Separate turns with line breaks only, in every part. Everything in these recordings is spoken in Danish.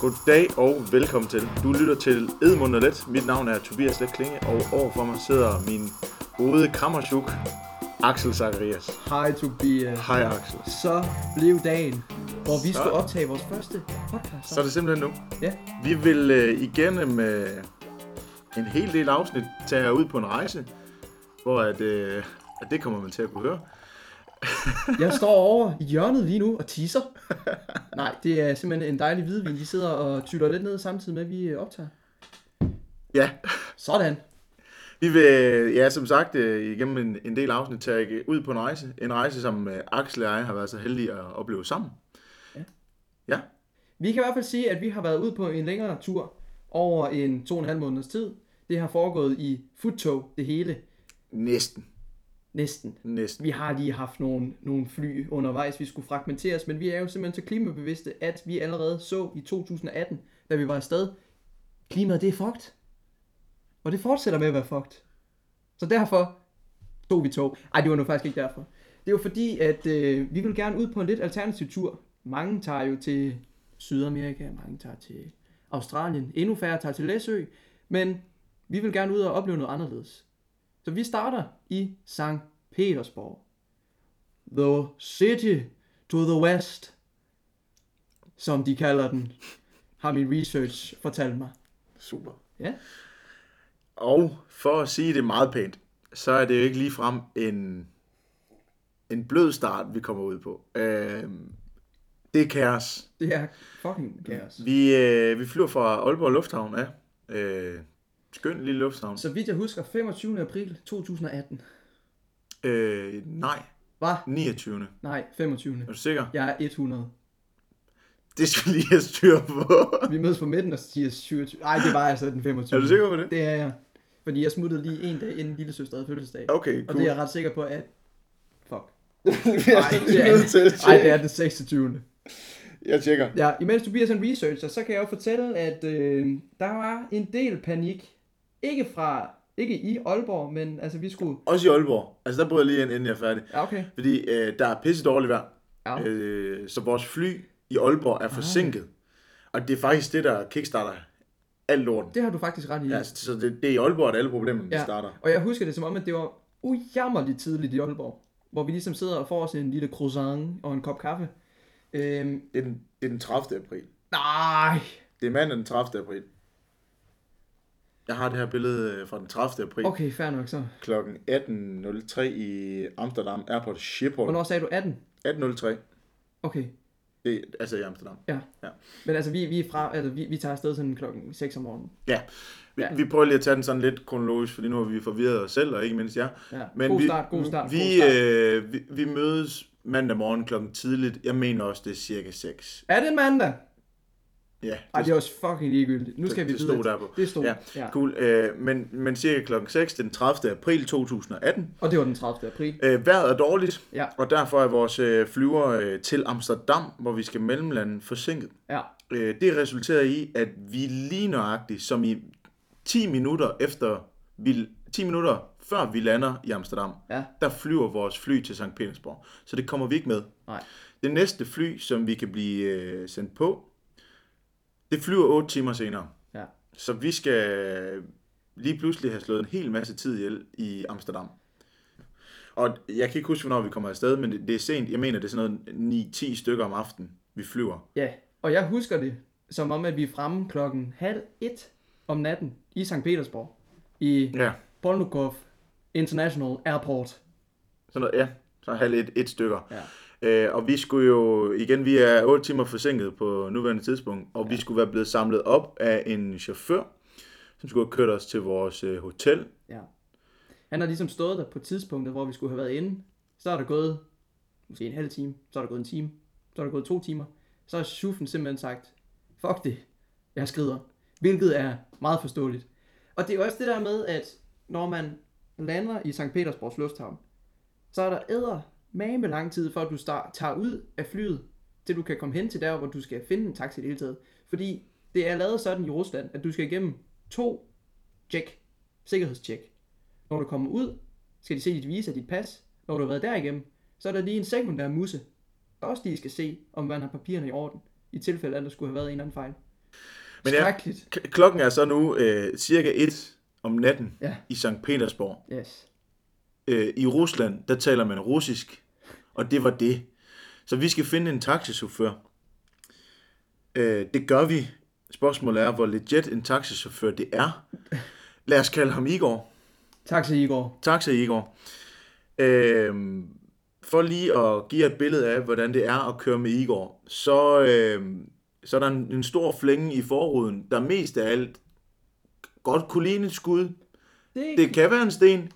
Goddag og velkommen til. Du lytter til Edmund og Let. Mit navn er Tobias Let Klinge, og overfor mig sidder min gode kammerchuk, Axel Zacharias.
Hej Tobias.
Hej Axel.
Så blev dagen, hvor vi
Så.
skulle optage vores første podcast.
Så er det simpelthen nu.
Ja,
Vi vil øh, igen med en hel del afsnit tage jer ud på en rejse, hvor at, øh, at det kommer man til at kunne høre.
jeg står over i hjørnet lige nu og teaser. Nej, det er simpelthen en dejlig hvidvin. Vi sidder og tytter lidt ned samtidig med, at vi øh, optager.
Ja,
Sådan.
vi vil ja, som sagt øh, igennem en, en del afsnit tage jer ud på en rejse. En rejse, som øh, Axel og jeg har været så heldige at opleve sammen.
Ja.
Ja,
Vi kan i hvert fald sige, at vi har været ud på en længere tur over en to og en halv måneders tid. Det har foregået i futtog, det hele.
næsten.
Næsten.
Næsten.
Altså, Vi har lige haft nogle, nogle fly undervejs, vi skulle fragmenteres, men vi er jo simpelthen så klimabevidste, at vi allerede så i 2018, da vi var afsted, klimaet det er fucked. Og det fortsætter med at være fucked. Så derfor tog vi tog. Ej, det var nu faktisk ikke derfor. Det var fordi, at øh, vi vil gerne ud på en lidt alternativ tur. Mange tager jo til Sydamerika, mange tager til Australien, endnu færre tager til Læsø, men vi vil gerne ud og opleve noget anderledes. Så vi starter i St. Petersborg. The city to the west, som de kalder den, har min research fortalt mig.
Super.
Ja,
Og for at sige det meget pænt, så er det jo ikke ligefrem en, en blød start, vi kommer ud på. Øh, det er kaos.
det er fucking kaos.
Vi, øh, vi flyver fra Aalborg Lufthavn af. Øh, skøn lille lufthavn.
Så vidt jeg husker, 25. april 2018.
Øh, nej,
Var?
29.
Nej, 25.
Er du sikker?
Jeg er 100.
Det skal vi lige have styr på.
Vi mødes på midten og siger 27. Nej, det var altså den 25.
er du sikker på det?
Det er jeg. Fordi jeg smuttede lige en dag inden lille søster havde fødselsdag.
Okay,
Og
cool.
det er jeg ret sikker på, at... Fuck.
Nej,
det er- Nej, det er den 26.
Jeg tjekker.
Ja, imens Tobias han researcher, så kan jeg jo fortælle, at øh, der var en del panik. Ikke fra, ikke i Aalborg, men altså vi skulle...
Også i Aalborg. Altså, der bryder jeg lige ind, inden jeg er færdig.
Ja, okay.
Fordi øh, der er pisse dårligt vejr.
Ja.
Øh, så vores fly i Aalborg er forsinket. Og det er faktisk det, der kickstarter alt lorten.
Det har du faktisk ret i.
Ja, så det, det er i Aalborg, at alle problemerne ja. starter.
Og jeg husker det som om, at det var ujammerligt tidligt i Aalborg. Hvor vi ligesom sidder og får os en lille croissant og en kop kaffe. Øhm,
Det er, den, det er den 30. april.
nej,
Det er mandag den 30. april. Jeg har det her billede øh, fra den 30. april okay.
okay, fair nok så.
kl. 18.03 i Amsterdam Airport Schiphol.
Hvornår sagde du 18?
18.03,
Okay,
det, er- altså i Amsterdam.
ja.
Ja.
Men altså, vi, vi, er fra, altså, vi, vi tager afsted sådan klokken 6 om morgenen.
Ja, vi,
Ja.
ja. vi prøver lige at tage den sådan lidt kronologisk, fordi nu har vi forvirret os selv, og ikke mindst jer.
Ja. God start,
vi,
god start,
vi,
god start.
Øh, vi, vi mødes mandag morgen klokken tidligt. Jeg mener også, det er cirka 6.
Er det mandag?
Ja,
Ej, det er også fucking ligegyldigt. Nu skal vi
det
videre.
stod der på.
Det stod,
ja.
ja.
Cool. Øh, men, men cirka klokken 6, den 30. april 2018.
Og det var den 30. april.
Øh, vejret er dårligt,
Ja.
og derfor er vores øh, flyver øh, til Amsterdam, hvor vi skal mellemlande, forsinket.
Ja,
Øh, det resulterer i, at vi lige nøjagtigt, som i 10 minutter efter vi, 10 minutter før vi lander i Amsterdam,
ja,
der flyver vores fly til St. Petersborg. Så det kommer vi ikke med.
nej.
Det næste fly, som vi kan blive øh, sendt på, det flyver 8 timer senere.
Ja.
Så vi skal lige pludselig have slået en hel masse tid ihjel i Amsterdam. Og jeg kan ikke huske, hvornår vi kommer afsted, men det, det er sent. Jeg mener, det er sådan noget 9-10 stykker om aftenen, vi flyver.
Ja, og jeg husker det som om, at vi er fremme klokken halv et om natten i St. Petersborg. I
Ja.
Polnukov International Airport.
Sådan noget, ja. Så halv et, et stykker.
Ja.
Øh, og vi skulle jo, igen, vi er 8 timer forsinket på nuværende tidspunkt, og ja. vi skulle være blevet samlet op af en chauffør, som skulle have kørt os til vores øh, hotel.
Ja. Han har ligesom stået der på tidspunktet, hvor vi skulle have været inde. Så er der gået måske en halv time, så er der gået en time, så er der gået to timer. Så har chuffen simpelthen sagt, fuck det, jeg skrider. Hvilket er meget forståeligt. Og det er også det der med, at når man lander i St. Petersborgs lufthavn, så er der æder mame lang tid, før du start, tager ud af flyet, til du kan komme hen til der, hvor du skal finde en taxi i det hele taget. Fordi det er lavet sådan i Rusland, at du skal igennem to check, sikkerhedstjek. Når du kommer ud, skal de se dit visa, dit pas. Når du har været derigennem, så er der lige en sekundær musse, der også lige skal se, om man har papirerne i orden, i tilfælde af, at der skulle have været en eller anden fejl.
Men ja,
Skrækkeligt.
k- klokken er så nu øh, cirka 1 om natten
Ja.
i Sankt Petersborg.
Yes.
Øh, I Rusland, der taler man russisk, og det var det. Så vi skal finde en taxichauffør. Øh, det gør vi. Spørgsmålet er, hvor legit en taxichauffør det er. Lad os kalde ham Igor.
Tak til Igor.
Taxa Igor. Øhm, for lige at give jer et billede af, hvordan det er at køre med Igor, så, øhm, så er der en, en stor flænge i forruden, der mest af alt godt kunne ligne et skud.
Det, det,
Det kan være en sten,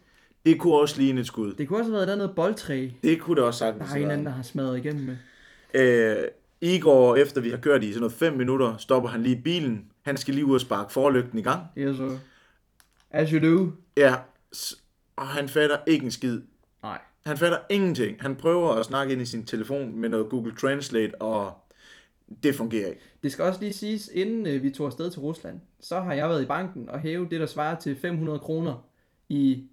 det kunne også ligne et skud.
det kunne også have været et eller andet boldtræ,
Det kunne det også
der
sagtens
har
have
en
været.
anden, der har smadret igennem med.
Øh, Igor, efter vi har kørt i sådan noget 5 minutter, stopper han lige bilen. Han skal lige ud og sparke forlygten i gang.
Det er så. As you do.
Ja, s- og han fatter ikke en skid.
Nej.
Han fatter ingenting. Han prøver at snakke ind i sin telefon med noget Google Translate, og det fungerer ikke.
Det skal også lige siges, inden øh, vi tog afsted til Rusland, så har jeg været i banken og hævet det, der svarer til 500 kroner i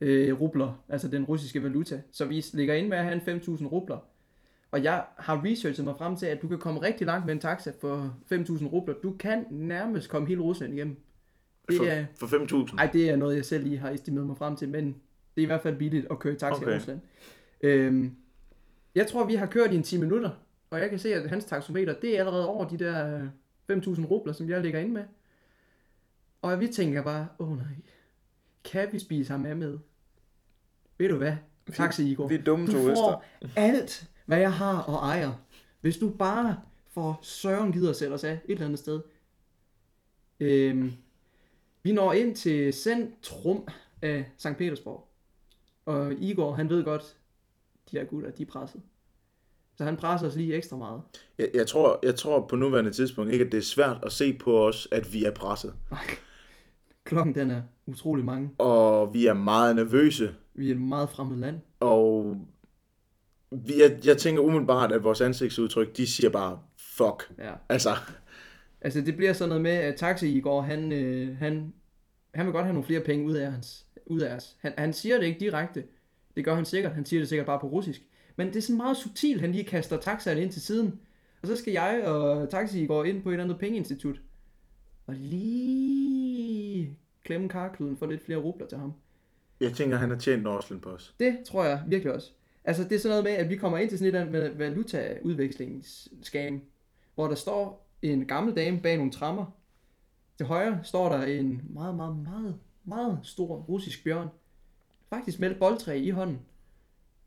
øh, rubler, altså den russiske valuta. Så vi ligger ind med at have en 5.000 rubler. Og jeg har researchet mig frem til, at du kan komme rigtig langt med en taxa for 5.000 rubler. Du kan nærmest komme hele Rusland igennem.
For,
Det er,
for 5.000.
ej, det er noget, jeg selv lige har estimeret mig frem til, men det er i hvert fald billigt at køre i taxa okay.
Okay.
i Rusland. Øhm, jeg tror, vi har kørt i en 10 minutter, og jeg kan se, at hans taxometer, det er allerede over de der øh, 5.000 rubler, som jeg ligger inde med. Og vi tænker bare, åh oh, nej, kan vi spise ham af med? Ved du hvad? Taxi Igor.
vi er dumme
du
turister.
får alt, hvad jeg har og ejer. Hvis du bare for søren gider sætte os af et eller andet sted. Øhm, vi når ind til centrum af Sankt Petersborg. Og Igor, han ved godt, de der gutter, de er presset. Så han presser os lige ekstra meget.
Jeg, jeg, tror, jeg tror på nuværende tidspunkt ikke, at det er svært at se på os, at vi er presset.
Ej, Klokken den er utrolig mange.
Og vi er meget nervøse,
Vi er et meget fremmed land.
og vi, jeg, jeg tænker umiddelbart, at vores ansigtsudtryk, de siger bare, fuck.
Ja.
Altså,
Altså det bliver sådan noget med, at Taxi Igor, han, øh, han, han vil godt have nogle flere penge ud af, hans, ud af os. Han, han siger det ikke direkte. Det gør han sikkert. Han siger det sikkert bare på russisk. Men det er sådan meget subtilt, han lige kaster taxaen ind til siden. Og så skal jeg og Taxi Igor ind på et eller andet pengeinstitut. Og lige klemme karkluden for lidt flere rubler til ham.
jeg tænker, han har tjent Norsland på os.
Det tror jeg virkelig også. Altså, det er sådan noget med, at vi kommer ind til sådan et eller andet val- valutaudvekslingsskam, hvor der står en gammel dame bag nogle trammer. Til højre står der en meget, meget, meget, meget stor russisk bjørn. Faktisk med et boldtræ i hånden.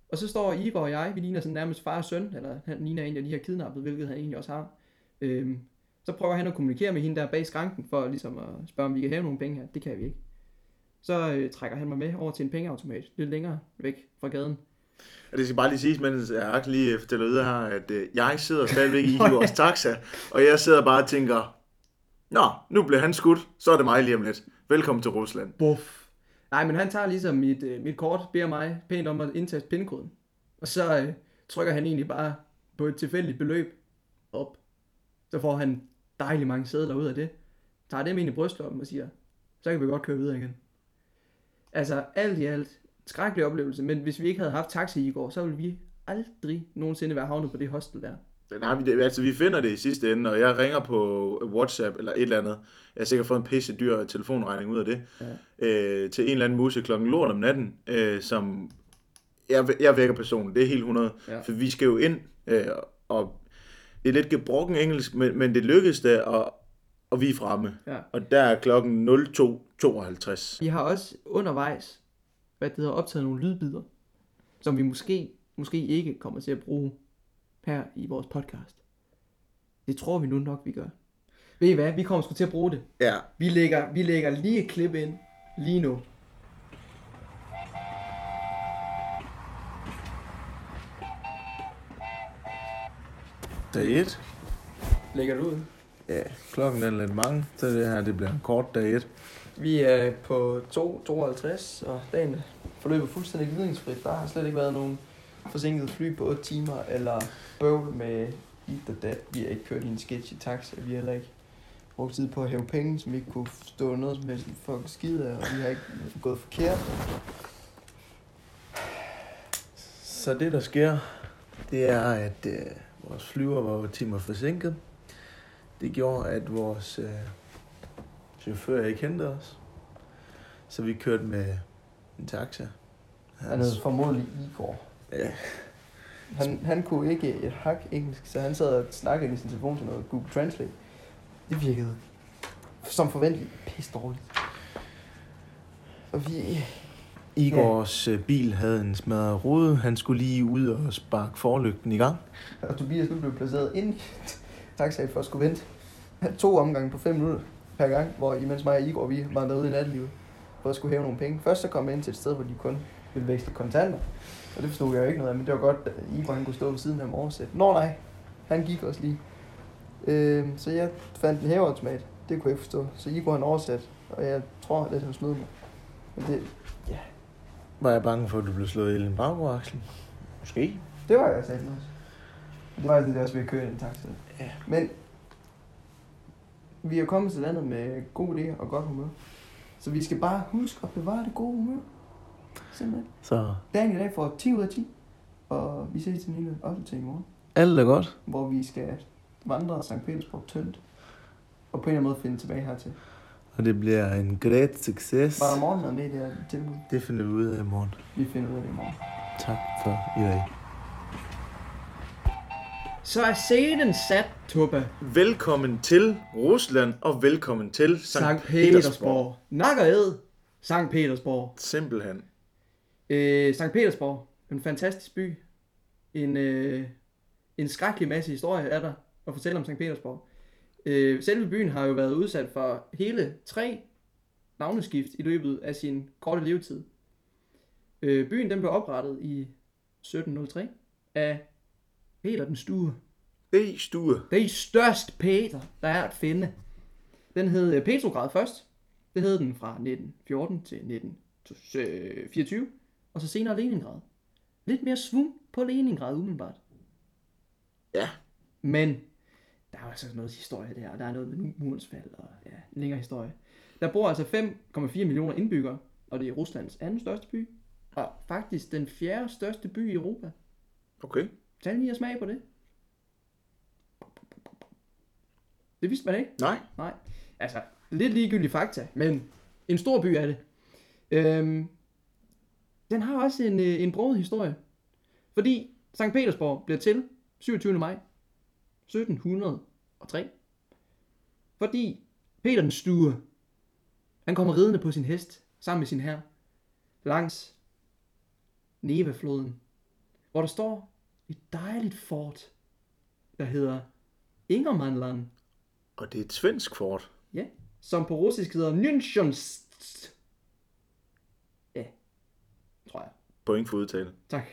Og så står Igor og jeg, vi ligner sådan nærmest far og søn, eller han ligner en, jeg lige har kidnappet, hvilket han egentlig også har. Øhm, så prøver han at kommunikere med hende der bag skranken, for ligesom at spørge, om vi kan have nogle penge her. Det kan vi ikke. Så øh, trækker han mig med over til en pengeautomat, lidt længere væk fra gaden.
Og det skal bare lige siges, mens jeg lige øh, fortæller videre her, at øh, jeg sidder stadigvæk i vores taxa, og jeg sidder bare og tænker, Nå, nu blev han skudt, så er det mig lige om lidt. Velkommen til Rusland.
Buff. Nej, men han tager ligesom mit, øh, mit kort, beder mig pænt om at indtaste pindkoden. Og så øh, trykker han egentlig bare på et tilfældigt beløb op. Så får han dejlig mange sædler ud af det. Tager dem ind i brystloppen og siger, så kan vi godt køre videre igen. Altså alt i alt, skrækkelig oplevelse, men hvis vi ikke havde haft taxi i går, så ville vi aldrig nogensinde være havnet på det hostel der.
Den har vi, det- altså, vi finder det i sidste ende, og jeg ringer på WhatsApp eller et eller andet. Jeg har sikkert fået en pisse dyr telefonregning ud af det. Ja. Øh, til en eller anden muse klokken lort om natten, øh, som jeg, jeg vækker personen. Det er helt 100.
Ja.
Ja. For vi skal jo ind, øh, og det er lidt gebrokken engelsk, men, men det lykkedes da, og, og vi er fremme.
Ja.
Og der er klokken 02.52.
Vi har også undervejs, hvad det hedder, optaget nogle lydbider, som vi måske, måske ikke kommer til at bruge her i vores podcast. Det tror vi nu nok, vi gør. Ved I hvad? Vi kommer sgu til at bruge det.
Ja.
Vi lægger, vi lægger lige et klip ind, lige nu.
Dag 1.
Lægger det ud.
Ja, klokken er lidt mange, så det her det bliver en kort dag 1.
Vi er på 2.52, og dagen forløber fuldstændig glidningsfrit. Der har slet ikke været nogen forsinket fly på 8 timer, eller bøvl med dit og dat. Vi har ikke kørt i en sketch i taxa, vi har heller ikke brugt tid på at hæve penge, som ikke kunne stå noget som helst fucking skid af, og vi har ikke gået forkert.
Så det, der sker, det er, at øh, vores flyver var 8 timer forsinket. Det gjorde, at vores øh, chauffør ikke hentede os. Så vi kørte med en taxa.
Han hed formodentlig Igor.
ja,
Han, han kunne ikke et hak engelsk, så han sad og snakkede i sin telefon til noget Google Translate. Det virkede som forventeligt pisse dårligt. Og vi...
Igors ja. bil havde en smadret rude. Han skulle lige ud og sparke forlygten i gang.
Og Tobias nu blev placeret ind i taxaen for at skulle vente. Han to omgange på 5 minutter per gang, hvor imens mig og Igor vi var derude i nattelivet for at skulle hæve nogle penge. Først så kom jeg ind til et sted, hvor de kun ville veksle kontanter. Og det forstod jeg jo ikke noget af, men det var godt, at Igor han kunne stå ved siden af ham og oversætte. Nå nej, han gik også lige. Øh, så jeg fandt en hæveautomat. Det kunne jeg ikke forstå. Så Igor han oversat, og jeg tror lidt, han snød mig. Men det,
Var jeg bange for, at du blev slået ihjel i en baggårdaksel? Måske.
Det var jeg sagde også. Det var altså det, der også ved at køre i en taxa.
Ja.
Men vi er kommet til landet med gode idéer og godt humør. Så vi skal bare huske at bevare det gode humør. Simpelthen.
Så
Dagen i dag får 10 ud af 10. Og vi ses til en lille opdatering i morgen,
alt er godt.
hvor vi skal vandre St. Petersborg tyndt. Og på en eller anden måde finde tilbage hertil.
Og det bliver en great succes.
Var der morgenmad med i det her tilbud?
Det finder vi ud af i morgen.
Vi finder ud af det i morgen.
Tak for i dag.
Så er scenen sat, Tuppa.
Velkommen til Rusland, og velkommen til
Sankt Petersborg. Nakker ed. Sankt Petersborg.
Simpelthen.
Øh, Sankt Petersborg, en fantastisk by. En, øh, en skrækkelig masse historie er der at fortælle om Sankt Petersborg. Øh, selve byen har jo været udsat for hele tre navneskift i løbet af sin korte levetid. Øh, byen den blev oprettet i 1703 af Peter den Stue.
Det stue.
Det er størst Peter, der er at finde. Den hed øh, Petrograd først. Det hed den fra 1914 til 1924. Og så senere Leningrad. Lidt mere svung på Leningrad umiddelbart.
Ja.
Men der er jo altså noget historie der, og der er noget med murens fald, og ja, en længere historie. Der bor altså 5,4 millioner indbyggere, og det er Ruslands anden største by, og faktisk den fjerde største by i Europa.
Okay.
Tag lige og smag på det. Det vidste man ikke.
Nej.
Nej. Altså, lidt ligegyldige fakta, men en stor by er det. Øhm, den har også en, øh, en broget historie. Fordi Sankt Petersborg bliver til 27. maj 1703. Fordi Peter den Stue, han kommer ridende på sin hest sammen med sin hær langs Nevafloden, hvor der står et dejligt fort, der hedder Ingermanland
Og det er et svensk fort.
Ja, som på russisk hedder Nynchonst. Ja, tror jeg.
Point for udtale.
Tak.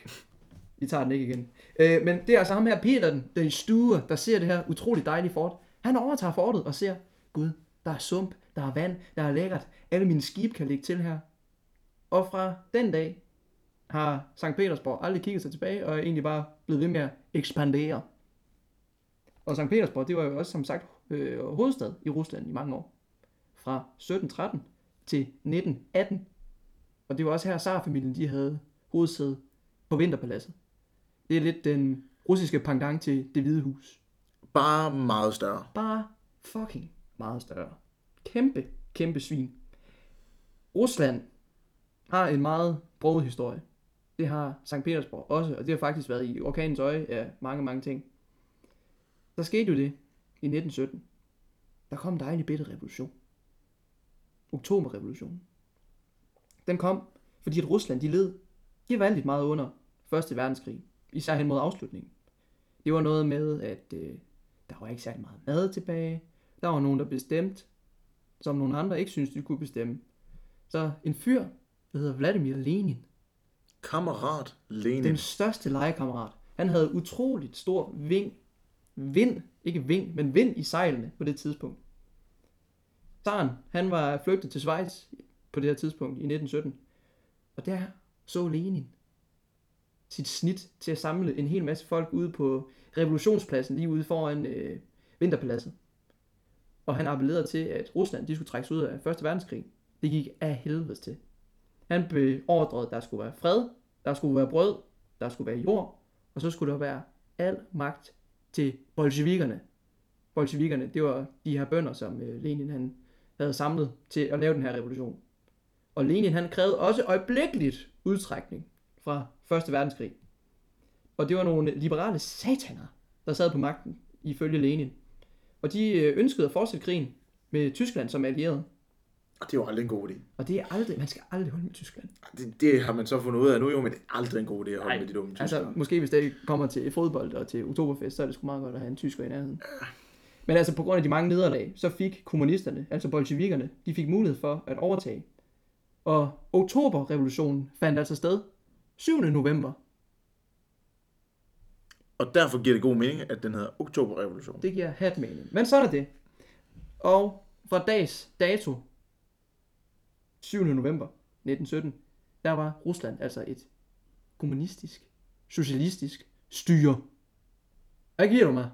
Vi tager den ikke igen. Øh, men det er altså ham her, Peter, den, den stue, der ser det her utroligt dejlige fort. Han overtager fortet og ser, gud, der er sump, der er vand, der er lækkert. Alle mine skib kan ligge til her. Og fra den dag har Sankt Petersborg aldrig kigget sig tilbage, og er egentlig bare blevet ved med at ekspandere. Og Sankt Petersborg, det var jo også som sagt øh, hovedstad i Rusland i mange år. Fra 1713 til 1918. Og det var også her, Tsar-familien de havde hovedsæde på Vinterpaladset. Det er lidt den russiske pendant til det hvide hus.
Bare meget større.
Bare fucking meget større. Kæmpe, kæmpe svin. Rusland har en meget broget historie. Det har Sankt Petersborg også, og det har faktisk været i orkanens øje af mange, mange ting. Der skete jo det i 1917. Der kom en dejlig bitte revolution. Oktoberrevolutionen. Den kom, fordi at Rusland de led gevaldigt meget under 1. verdenskrig, især hen mod afslutningen. Det var noget med, at øh, der var ikke særlig meget mad tilbage. Der var nogen, der bestemte, som nogle andre ikke syntes, de kunne bestemme. Så en fyr, der hedder Vladimir Lenin,
Kammerat Lenin.
den største legekammerat. Han havde utroligt stor ving, vind, ikke ving, men vind i sejlene på det tidspunkt. Zaren, han var flygtet til Schweiz på det her tidspunkt i 1917. Og der så Lenin sit snit til at samle en hel masse folk ude på revolutionspladsen lige ude foran øh, Vinterpaladset. Og han appellerede til, at Rusland de skulle trække sig ud af 1. verdenskrig. Det gik af helvedes til. Han beordrede, at der skulle være fred, der skulle være brød, der skulle være jord, og så skulle der være al magt til bolsjevikerne. bolsjevikerne, det var de her bønder, som øh, Lenin han havde samlet til at lave den her revolution. Og Lenin han krævede også øjeblikkeligt udtrækning fra 1. verdenskrig. Og det var nogle liberale sataner, der sad på magten, ifølge Lenin. Og de øh, ønskede at fortsætte krigen med Tyskland som allieret.
Og Ah, det var aldrig en god idé. Ah,
Og det er aldrig, man skal aldrig holde med Tyskland.
Det, det har man så fundet ud af nu, jo, men det er aldrig en god idé at holde
Nej,
med de dumme tyskere.
Altså, måske hvis det kommer til fodbold og til Oktoberfest, så er det sgu meget godt at have en tysker i nærheden. Men altså, på grund af de mange nederlag, så fik kommunisterne, altså bolsjevikerne, de fik mulighed for at overtage. Og oktoberrevolutionen fandt altså sted 7. november.
Og derfor giver det god mening, at den hedder Oktoberrevolution.
Det giver hat mening. Men så er der det. Og fra dags dato, 7. november 1917, der var Rusland altså et kommunistisk, socialistisk styre. Hvad giver du mig?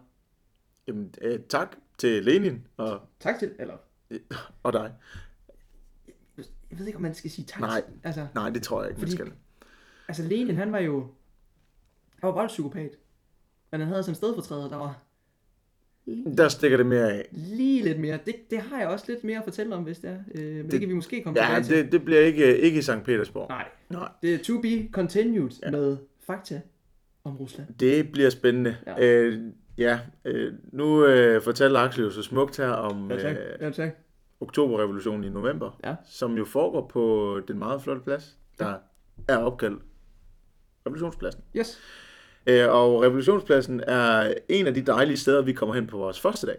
Jamen, øh, tak til Lenin og, øh,
Tak til, eller
og dig.
jeg ved ikke, om man skal sige tak
Nej.
til. Altså,
Nej, det tror jeg ikke, man
Fordi-
skal.
altså Lenin, han var jo, han var voldspsykopat. Men han havde som stedfortræder, der var
Der stikker det mere af.
lige lidt mere. Det, det har jeg også lidt mere at fortælle om, hvis det er. Øh, men det, det, kan vi måske komme
Ja,
tilbage til.
det, det bliver ikke, ikke i St. Petersborg.
Nej,
Nej.
det er to be continued ja. med fakta om Rusland.
Det bliver spændende.
Ja.
Ja, øh, ja øh, nu øh, fortalte Axel jo så smukt her om øh,
Ja, tak.
oktoberrevolutionen i november,
Ja.
som jo foregår på den meget flotte plads, der er opkaldt Revolutionspladsen.
Yes.
Øh, og Revolutionspladsen er en af de dejlige steder, vi kommer hen på vores første dag.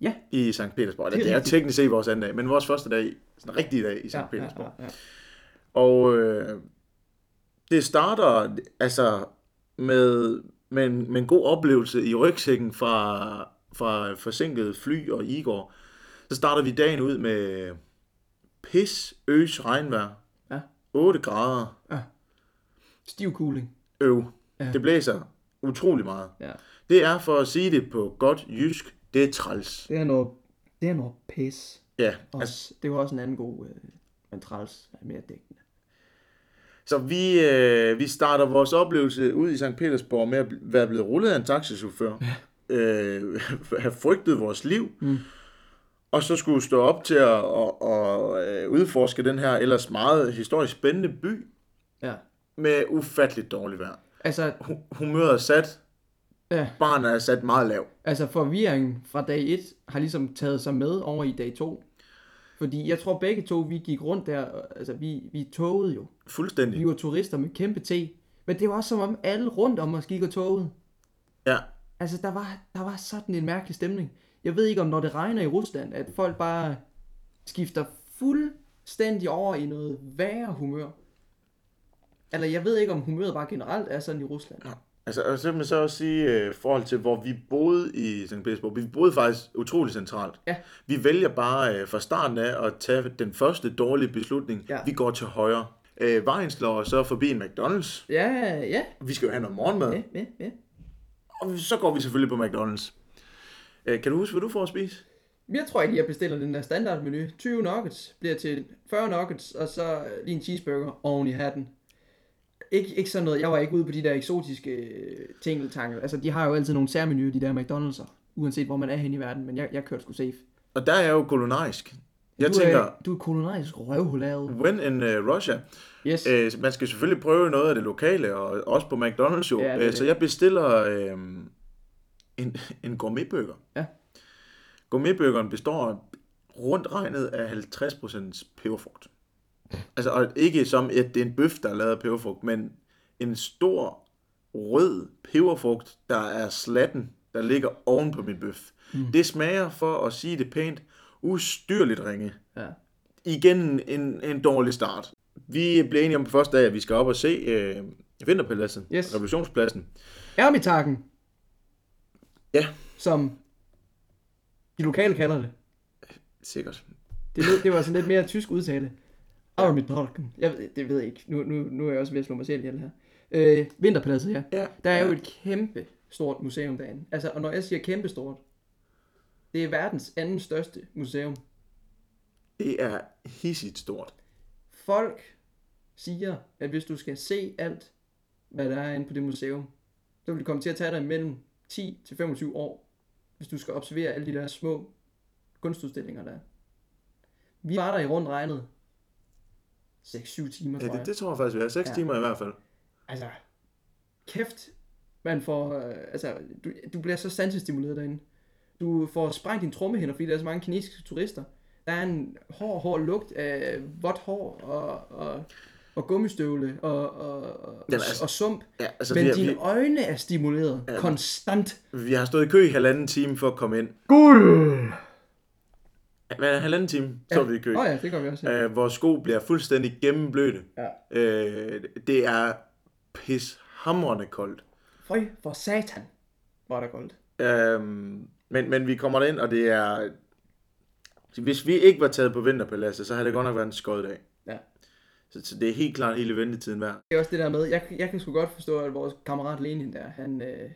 Ja.
I St. Petersborg. Eller,
Det er
det er
rigtigt.
teknisk set vores anden dag, men vores første dag, sådan en rigtig dag i St.
Ja, ja,
Petersborg.
ja, ja.
Og øh, det starter altså med, med, en, med en god oplevelse i rygsækken fra, fra forsinket fly og Igor. Så starter vi dagen ud med pis, øs, regnvejr,
Ja.
8 grader,
Stiv cooling.
øv.
Ja.
Ja. Det blæser utrolig meget.
Ja.
Det er for at sige det på godt jysk, det er træls.
Det er noget, det er noget pis.
Ja,
Også,
altså,
altså, det var også en anden god, øh, men træls er mere dækkende.
så vi, øh, vi starter vores oplevelse ud i St. Petersborg med at bl- være blevet rullet af en taxichauffør. Ja. Øh, have frygtet vores liv. Mm. Og så skulle stå op til at, at, at, at udforske den her ellers meget historisk spændende by
Ja.
med ufatteligt dårligt vejr.
Altså,
Hu- Humøret er sat,
ja,
barnet er sat meget lav.
altså forvirringen fra dag 1 har ligesom taget sig med over i dag 2. Fordi jeg tror begge to, vi gik rundt der, og- altså vi, vi togede jo.
Fuldstændig.
Vi var turister med kæmpe te. Men det var også som om alle rundt om os gik og togede.
Ja,
Altså, der var, der var sådan en mærkelig stemning. Jeg ved ikke, om når det regner i Rusland, at folk bare skifter fuldstændig over i noget værre humør. Eller jeg ved ikke, om humøret bare generelt er sådan i Rusland.
Altså, og så kan man så også sige, øh, i forhold til, hvor vi boede i St. Petersborg, vi boede faktisk utrolig centralt.
Ja.
Vi vælger bare øh, fra starten af at tage den første dårlige beslutning.
Ja.
Vi går til højre. Øh, vejen slår så forbi en McDonald's.
Ja, ja,
Vi skal jo have noget morgenmad.
ja, ja, ja.
Og så går vi selvfølgelig på McDonald's. Øh, kan du huske, hvad du får at spise?
Jeg tror ikke, jeg bestiller den der standardmenu. 20 nuggets bliver til 40 nuggets, og så øh, lige en cheeseburger oven i hatten. Ikke, ikke sådan noget. Jeg var ikke ude på de der eksotiske øh, tingeltangle. Altså, de har jo altid nogle særmenuer, de der McDonald's'er. Uanset hvor man er hen i verden, men jeg, jeg kørte sgu safe.
Og der er jeg jo kolonarisk. Jeg
du øh,
tænker,
Er, du er kolonarisk røvhulade.
when in uh, Russia.
Yes. Øh,
Øh, man skal selvfølgelig prøve noget af det lokale, og også på McDonald's jo.
Ja, det er
Ja,
det.
så jeg bestiller øh, en, en gourmetburger.
Ja.
Gourmetburgeren består rundt regnet af 50% peberfrugt. Altså, og ikke som, at det er en bøf, der er lavet af peberfrugt, men en stor rød peberfrugt, der er slatten, der ligger oven på min bøf. Mm. Det smager, for at sige det pænt, ustyrligt ringe
ja.
igen en, en dårlig start. Vi blev enige om på første dag, at vi skal op og se øh, Vinterpaladset,
Yes.
Revolutionspladsen.
Ermitagen,
Ja,
som de lokale kalder det.
sikkert.
Det, lød, det var sådan lidt mere tysk udtale. Ermitagen. Jeg ved, det ved jeg ikke. Nu, nu, nu er jeg også ved at slå mig selv ihjel her. Øh, vinterpaladset her.
Ja,
Der er
ja.
jo et kæmpe stort museum derinde. Altså, og når jeg siger kæmpe stort, det er verdens anden største museum.
Det er hissigt stort.
Folk siger, at hvis du skal se alt, hvad der er inde på det museum, så vil det komme til at tage dig mellem 10 til 25 år hvis du skal observere alle de der små kunstudstillinger, der er. Vi var der i rundt regnet 6-7 timer, tror
Ja,
jeg.
det, det tror jeg faktisk, vi er. 6
Ja.
ja. timer i hvert fald.
Altså, kæft, man får, øh, altså, du, du bliver så sansestimuleret derinde. Du får sprængt dine trommehinder, fordi der er så mange kinesiske turister. Der er en hård, hård lugt af vådt hår og, og, og gummistøvle og, og, og,
Jamen, altså,
og sump.
Ja, altså,
Så Men
vi, er,
dine
vi,
øjne er stimuleret ja. konstant.
vi har stået i kø i halvanden time for at komme ind.
Guld!
Hvad, halvanden time står vi i kø.
Åh oh, ja, det gør vi også. Ja.
Øh, vores sko bliver fuldstændig gennemblødte.
ja.
Øh, det er pishamrende koldt.
Føj for satan, var der koldt.
Øhm, men, men vi kommer derind, og det er... Hvis vi ikke var taget på vinterpaladset, så havde det godt nok været en skød dag.
Ja.
Så, så det er helt klart hele ventetiden værd.
Det er også det der med, jeg, jeg kan sgu godt forstå, at vores kammerat Lenin der, han, øh,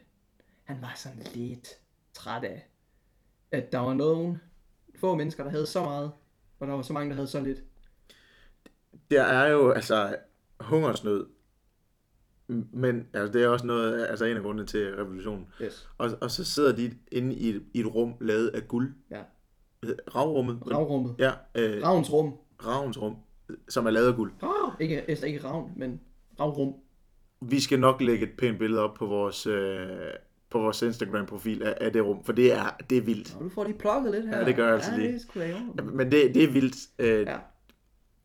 han var sådan lidt træt af, at der var nogen, få mennesker, der havde så meget, og der var så mange, der havde så lidt.
Der er jo altså hungersnød, M- men altså, det er også noget, altså en af grundene til revolutionen.
Yes.
Og, og så sidder de inde i et, i et rum lavet af guld.
Ja.
Ravrummet.
Ravrummet.
Ja, Ah! øh,
Ravns rum.
Ravens rum, som er lavet af guld.
Ikke, altså ikke ravn, men ravrum.
Vi skal nok lægge et pænt billede op på vores, øh, på vores Instagram-profil af, af det rum, for det er, det er vildt.
Og du får lige plukket lidt her.
Ja, det gør jeg altså
ja,
lige.
det. er sgu da i orden.
Men det, det er vildt. Øh,
Ja.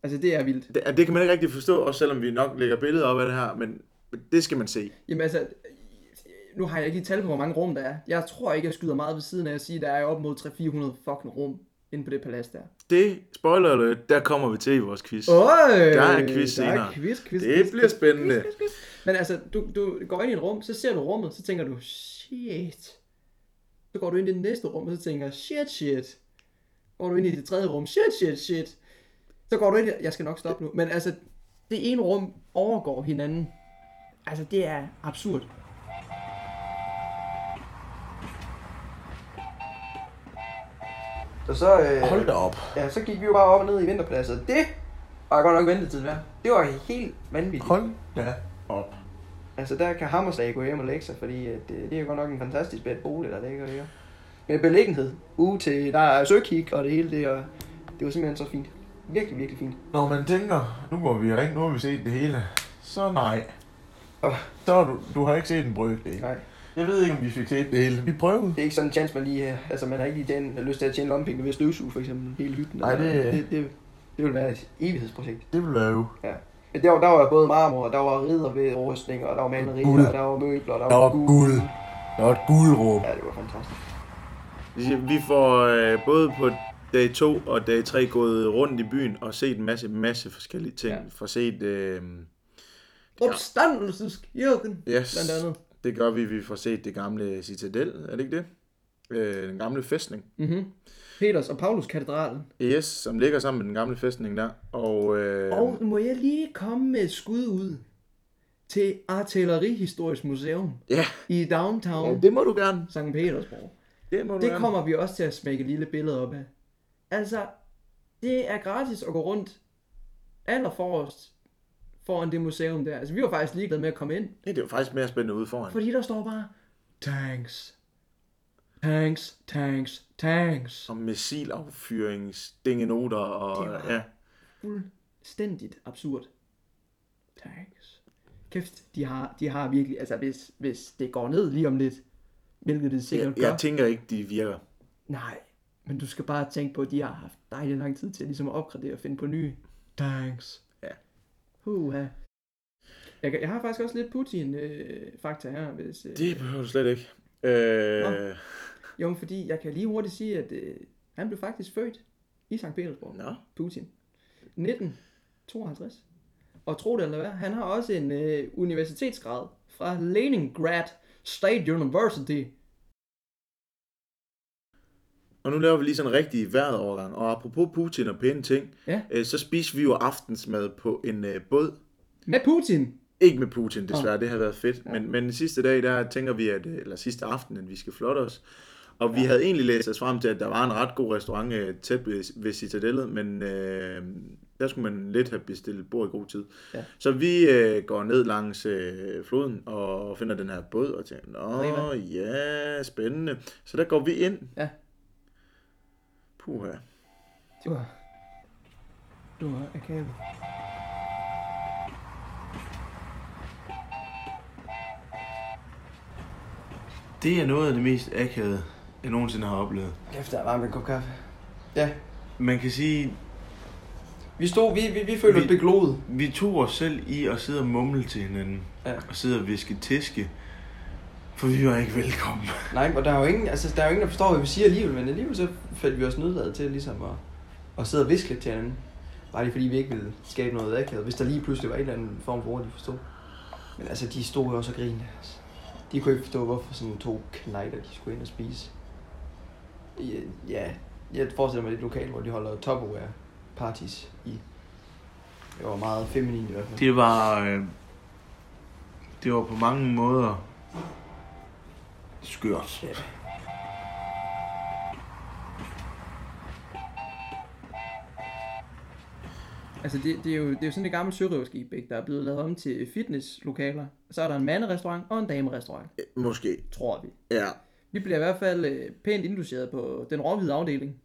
Altså det er vildt.
det, det kan man ikke rigtig forstå, også selvom vi nok lægger billeder op af det her, men det skal man se.
Jamen altså, nu har jeg ikke lige tal på, hvor mange rum der er. Jeg tror ikke, jeg skyder meget ved siden af at sige, at der er op mod 300-400 fucking rum inde på det palads der.
Det, spoiler alert, der kommer vi til i vores quiz.
Øj, der
er quiz senere.
quiz, quiz,
Det
quiz,
bliver
quiz,
spændende.
Quiz, quiz, quiz. Men altså, du, du går ind i et rum, så ser du rummet, så tænker du, shit. Så går du ind i det næste rum, og så tænker, shit, shit. Så Går du ind i det tredje rum, shit, shit, shit. Så går du ind i, jeg skal nok stoppe nu, men altså, det ene rum overgår hinanden. Altså, det er absurd. Så så, øh,
Hold da op.
Ja, så gik vi jo bare op og ned i vinterpladsen. Det var godt nok ventetid værd. Det var helt vanvittigt.
Hold da op.
Altså, der kan Hammerslag gå hjem og lægge sig, fordi at, øh, det er jo godt nok en fantastisk bed bolig, der ligger der. Med beliggenhed ude til, der er søkik og det hele det, og det var simpelthen så fint. Virkelig, virkelig fint.
Når man tænker, nu må vi ringe, nu har vi set det hele, så nej.
Åh.
Så har du, du har ikke set en brøkdel.
Nej,
Jeg ved ikke, om vi fik set det hele. Vi prøvede.
det er ikke sådan en chance, man lige, øh, altså man har ikke lige den lyst til at tjene lommepenge ved at støvsuge for eksempel hele hytten. Altså,
Nej, det-
det, det, det ville være et evighedsprojekt.
Det ville være jo.
Ja. Men der, var- der var både marmor, og der var ridder ved rustninger, og der var
Guld.
malerier, og der var møbler, og der,
Der var guld. Der var et guldrum.
Ja, det var fantastisk.
Vi får øh, både på dag 2 og dag 3 gået rundt i byen og set en masse, masse forskellige ting.
Ja.
Ja. Får set, øh,
Opstandelseskirken,
yes,
blandt andet.
det gør vi. Vi får set det gamle citadel, er det ikke det? Øh, den gamle fæstning.
Mm-hmm. Peters og Paulus katedralen.
Yes, som ligger sammen med den gamle fæstning der. Og, øh,
Og må jeg lige komme med et skud ud til Artillerihistorisk Museum
ja,
i downtown
ja, det må du gerne.
St. Petersborg.
Det må du
Det
gerne.
kommer vi også til at smække et lille billede op af. Altså, det er gratis at gå rundt allerforrest foran det museum der. Altså, vi var faktisk ligeglade med at komme ind,
Ja, det er jo faktisk mere spændende ude foran.
fordi der står bare, tanks, tanks, tanks, tanks.
Som missilaffyringsdingenoter og...
Det var-
Ja.
fuldstændigt absurd. Thanks. Kæft, de har, de har virkelig, altså hvis, hvis det går ned lige om lidt, hvilket det sikkert
Jeg,
gør.
jeg tænker ikke, de virker.
Nej, men du skal bare tænke på, at de har haft dejlig lang tid til ligesom at opgradere og finde på nye. Thanks.
Ja.
Huha. Jeg, kan- jeg har faktisk også lidt Putin-fakta her. Hvis, øh,
Det behøver du slet ikke. Øh,
Jo, fordi jeg kan lige hurtigt sige, at øh, han blev faktisk født i St. Petersborg.
Nå.
Putin. 1952. Og tro det eller hvad, han har også en øh, universitetsgrad fra Leningrad State University.
Og nu laver vi lige sådan en rigtig vejret overgang. Og apropos Putin og pæne ting,
Ja.
øh, så spiser vi jo aftensmad på en øh, båd.
Med Putin!
Ikke med Putin, desværre, det har været fedt. Men, men sidste dag, der tænker vi, at, øh, eller sidste aften, at vi skal flotte os. Og vi havde egentlig læst os frem til, at der var en ret god restaurant øh, tæt ved, ved Citadellet, men øh, der skulle man lidt have bestilt bord i god tid.
Ja.
Så vi øh, går ned langs øh, floden og finder den her båd og tænker, nå ja, spændende. Så der går vi ind.
Ja.
Puha.
Du har... Du har akavet.
Det er noget af det mest akavede, jeg nogensinde har oplevet.
Kæft, der er varmt en kop kaffe. Ja,
Man kan sige,
vi stod, vi, vi, vi følte
Vi-
os begloet.
vi tog os selv i at sidde og mumle til hinanden.
Ja.
Og sidde og viske tiske. For vi var ikke velkommen.
Nej, og der er jo ingen, altså, der er jo ingen, der forstår, hvad vi siger alligevel, men alligevel så faldt vi også nødladet til ligesom at, at sidde og viske lidt til hinanden. Bare lige fordi vi ikke ville skabe noget akavet, hvis der lige pludselig var en eller anden form for ord, de forstod. Men altså, de stod jo også og grinede. Altså. De kunne ikke forstå, hvorfor sådan to knejder, de skulle ind og spise. Ja, ja jeg forestiller mig det er et lokal, hvor de holder topware parties i. Det var meget feminin i hvert fald.
Det var... Øh, det var på mange måder... skørt.
Ja. Altså, det, det, er jo, det er jo sådan et gammelt sørøverskib, ikke, der er blevet lavet om til fitnesslokaler. Så er der en manderestaurant og en damerestaurant,
Måske,
tror vi.
ja.
Vi bliver i hvert fald øh, pænt induceret på den råhvide afdeling.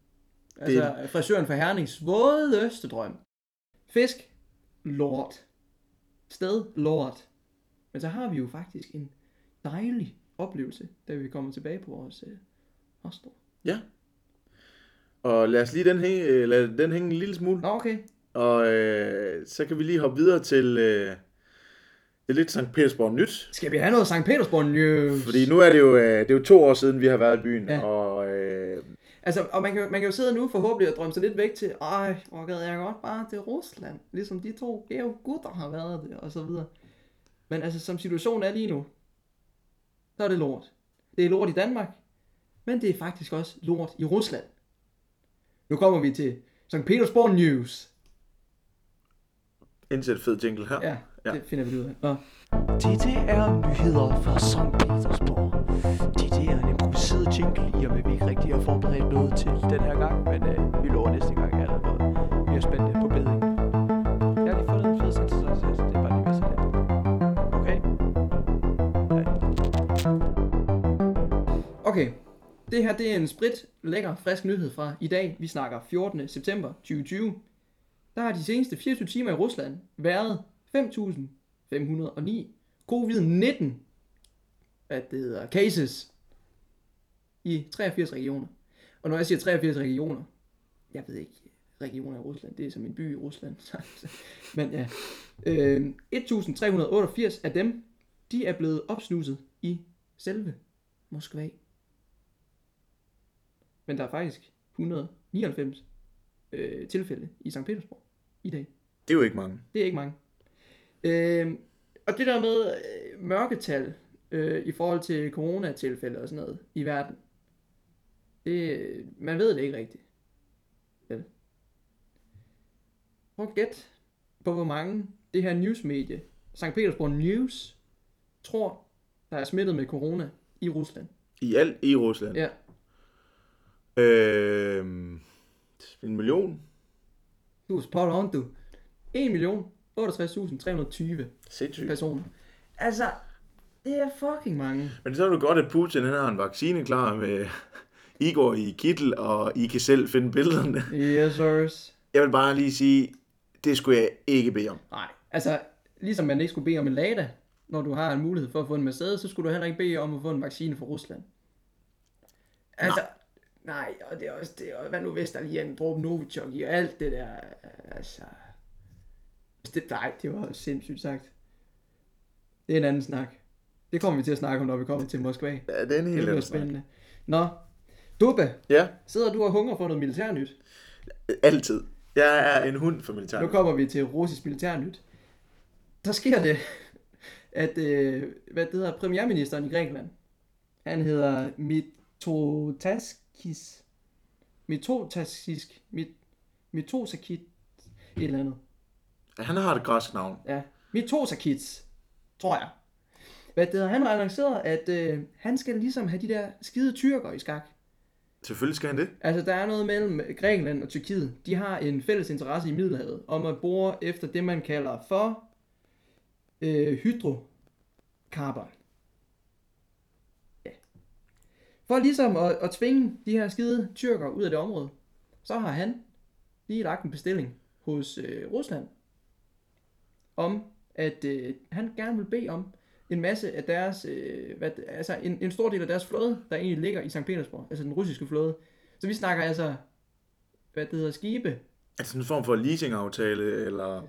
Altså, det... frisøren for Hernings vådeste drøm. Fisk, lort. Sted, lort. Men så har vi jo faktisk en dejlig oplevelse, da vi kommer tilbage på vores øh, hostel.
Ja. Og lad os lige den hænge, øh, lad den hænge en lille smule.
Nå, okay.
Og øh, så kan vi lige hoppe videre til øh, det er lidt Sankt Petersborg nyt.
Skal vi have noget Sankt Petersborg news?
Fordi nu er det jo, øh, det er jo to år siden, vi har været i byen.
Ja.
Ja. Og øh,
Altså, og man kan, jo- man kan jo sidde nu forhåbentlig og drømme sig lidt væk til, ej, hvor gad jeg godt bare til Rusland, ligesom de to gave gutter har været det, og så videre. Men altså, som situationen er lige nu, så er det lort. Det er lort i Danmark, men det er faktisk også lort i Rusland. Nu kommer vi til St. Petersborg News.
indsæt fed jingle her.
Ja, ja.
Ja.
det finder vi ud af. Nå.
DDR nyheder fra St. Petersborg. DDR er en improviseret jingle, i og med vi ikke rigtig har forberedt noget til den her gang, men øh, vi lover næste gang er der noget. Vi er spændt på bedring. Jeg har lige fundet en fed sensor, det er bare lige ved sådan Okay.
Okay, det her det er en sprit, lækker, frisk nyhed fra i dag. Vi snakker 14. september 2020. Der har de seneste 24 timer i Rusland været 5.509 covid-19 at det hedder cases i 83 regioner. Og når jeg siger 83 regioner, jeg ved ikke, regioner i Rusland, det er som en by i Rusland. Men ja, øh, 1.388 af dem, de er blevet opsnuset i selve Moskva. Men der er faktisk 199 øh, tilfælde i St. Petersborg i dag.
Det er jo ikke mange.
Det er ikke mange. Øh, og det der med øh, mørketal øh, i forhold til coronatilfælde og sådan noget i verden, det, øh, man ved det ikke rigtigt. Vel? Prøv at gætte på, hvor mange det her newsmedie, St. Petersborg News, tror, der er smittet med corona i Rusland.
I alt i Rusland.
Ja,
Øh, en million.
du er spot on, du. 1.068.320
Sindssygt.
personer. Altså, det er fucking mange.
Men så er det godt, at Putin han har en vaccine klar med... I går i kittel, og I kan selv finde billederne.
Yes, sirs.
Jeg vil bare lige sige, det skulle jeg ikke bede om.
Nej, altså ligesom man ikke skulle bede om en Lada, når du har en mulighed for at få en Mercedes, så skulle du heller ikke bede om at få en vaccine fra Rusland. Altså, nej, og det er også det, og hvad nu hvis der lige er en dråbe Novichok i og alt det der, altså... Det, nej, det var sindssygt sagt. Det er en anden snak. Det kommer vi til at snakke om, når vi kommer til Moskva. Det
Ja, det er en helt
bliver
anden snak.
spændende. Nå, Dubbe,
Ja,
sidder du og hungrer for noget militærnyt?
altid. Jeg er en hund for militæret.
Nu kommer vi til russisk militærnyt. Der sker det, at øh, hvad det hedder, premierministeren i Grækenland, han hedder Mitotaskis. Mitotaskisk. Mit, Mitosakit. Et eller andet.
Han har et græsk navn.
Ja. Mitosakits, tror jeg. Hvad det hedder, han har annonceret, at øh, han skal ligesom have de der skide tyrker i skak.
Selvfølgelig skal han det.
Altså, der er noget mellem Grækenland og Tyrkiet. De har en fælles interesse i Middelhavet, om at bore efter det, man kalder for øh, hydrokarbon. Ja. For ligesom at, at tvinge de her skide tyrker ud af det område, så har han lige lagt en bestilling hos øh, Rusland, om at øh, han gerne vil bede om en masse af deres, øh, hvad, det- altså en, en stor del af deres flåde, der egentlig ligger i St. Petersborg, altså den russiske flåde. Så vi snakker altså, hvad det hedder, skibe. Det
Er det Altså sådan en form for leasingaftale, eller...
er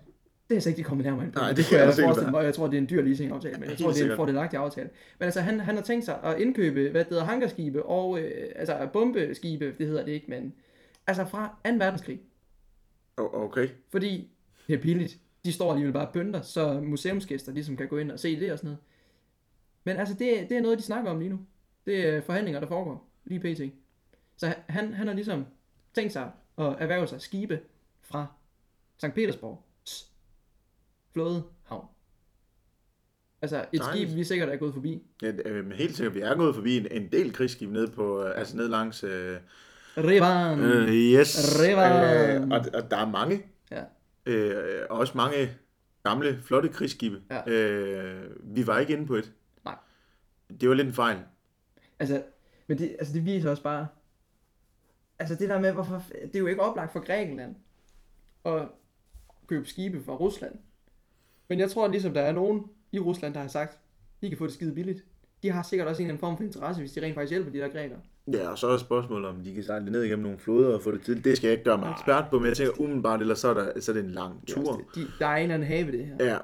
altså ikke de kommet nærmere ind på.
Nej, det
kunne
kan jeg
jeg
også ikke
forestille
være.
mig, og jeg tror, det er en dyr leasingaftale, men jeg
Helt
tror, det er en
sikkert.
fordelagtig aftale. Men altså, han, han har tænkt sig at indkøbe, hvad det hedder, hangarskibe og, øh, altså bombeskibe, det hedder det ikke, men altså fra 2. verdenskrig.
O- Okay.
Fordi det er billigt. De står alligevel bare og pynter, så museumsgæster ligesom kan gå ind og se det og sådan noget. Men altså, det, det er noget, de snakker om lige nu. Det er forhandlinger, der foregår lige pt. Så han, han har ligesom tænkt sig at erhverve sig skibe fra St. Petersborg flåde havn. Altså et
Dejligt.
skib, vi sikkert er gået forbi.
Ja, øh, men helt sikkert, vi er gået forbi en, en del krigsskib nede, på, øh, altså ned langs... Øh,
Revan!
øh, yes.
River.
Øh, og, og der er mange.
Ja.
Øh, og også mange gamle, flotte krigsskibe.
Ja.
Øh, vi var ikke inde på et.
Nej.
Det var lidt en fejl.
Altså, men det, altså det viser også bare... Altså det der med, hvorfor... f- Det er jo ikke oplagt for Grækenland at købe skibe fra Rusland. Men jeg tror, at ligesom der er nogen i Rusland, der har sagt, de kan få det skide billigt. De har sikkert også en eller anden form for interesse, hvis de rent faktisk hjælper de der grækere.
Ja, og så er spørgsmålet, om de kan sejle ned igennem nogle floder og få det til. Det skal jeg ikke gøre mig ekspert på, men jeg tænker umiddelbart, eller så er, der, så er det en lang
Det er også
tur.
det. De, der er en eller anden have ved det her,
Ja,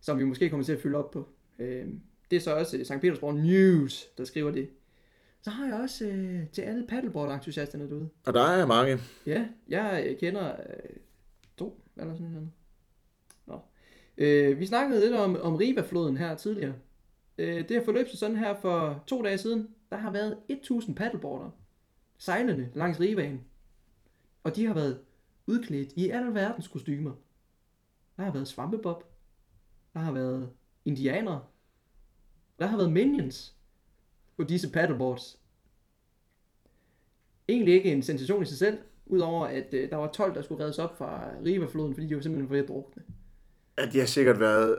som vi måske kommer til at følge op på. Øh, det er så også øh, St. Petersborg News, der skriver det. Så har jeg også øh, til alle paddleboard-entusiasterne derude.
og der er mange.
Ja, jeg øh, kender øh, to, eller sådan noget. Nå. Øh, vi snakkede lidt om, om Riva-floden her tidligere. Øh, det har forløbet sig sådan her for to dage siden. Der har været 1000 paddleboarder sejlende langs Rivaen. Og de har været udklædt i alverdens kostymer. Der har været svampebob. Der har været indianere. Der har været minions på disse paddleboards egentlig ikke en sensation i sig selv, udover at øh, der var 12, der skulle reddes op fra Riva-floden, fordi de var simpelthen ved at drukne.
at de har sikkert været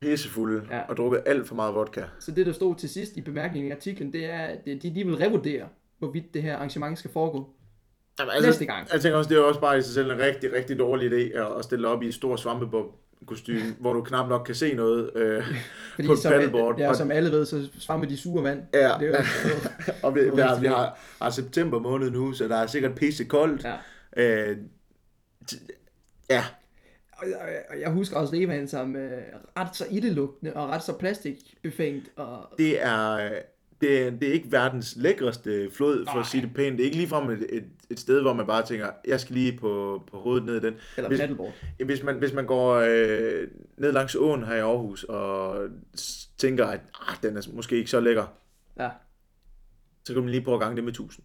pissefulde
Ja.
ja. og drukket alt for meget vodka.
Så det, der stod til sidst i bemærkningen i artiklen, det er, at øh, de, de vil revurdere, hvorvidt det her arrangement skal foregå.
Jamen, altså,
Næste gang.
Jeg tænker også, det er også bare i sig selv en rigtig, rigtig dårlig idé at, at stille op i et stort svampebob kostume, hvor du knap nok kan se noget øh,
Fordi
på et
som,
paddleboard.
ja,
og,
som alle ved, så svammer de sure vand.
Ja.
Det er jo,
og vi, vi, har, vi
rigtig
har, har september måned nu, så der er sikkert pisse koldt.
ja.
Øh, t- ja,
Og jeg, og jeg husker også Rivaen som øh, ret så ildelugtende og ret så plastikbefængt. Og,
det er... Det er, det er ikke verdens lækreste flod, for at sige det pænt. Det er ikke ligefrem et, et, et sted, hvor man bare tænker, jeg skal lige på, på hovedet ned i den.
eller
Hvis-
paddleboard.
Hvis man, hvis man går øh, ned langs åen her i Aarhus og s- tænker, at ah, den er måske ikke så lækker,
Ja.
så kan man lige prøve at gange det med 1000.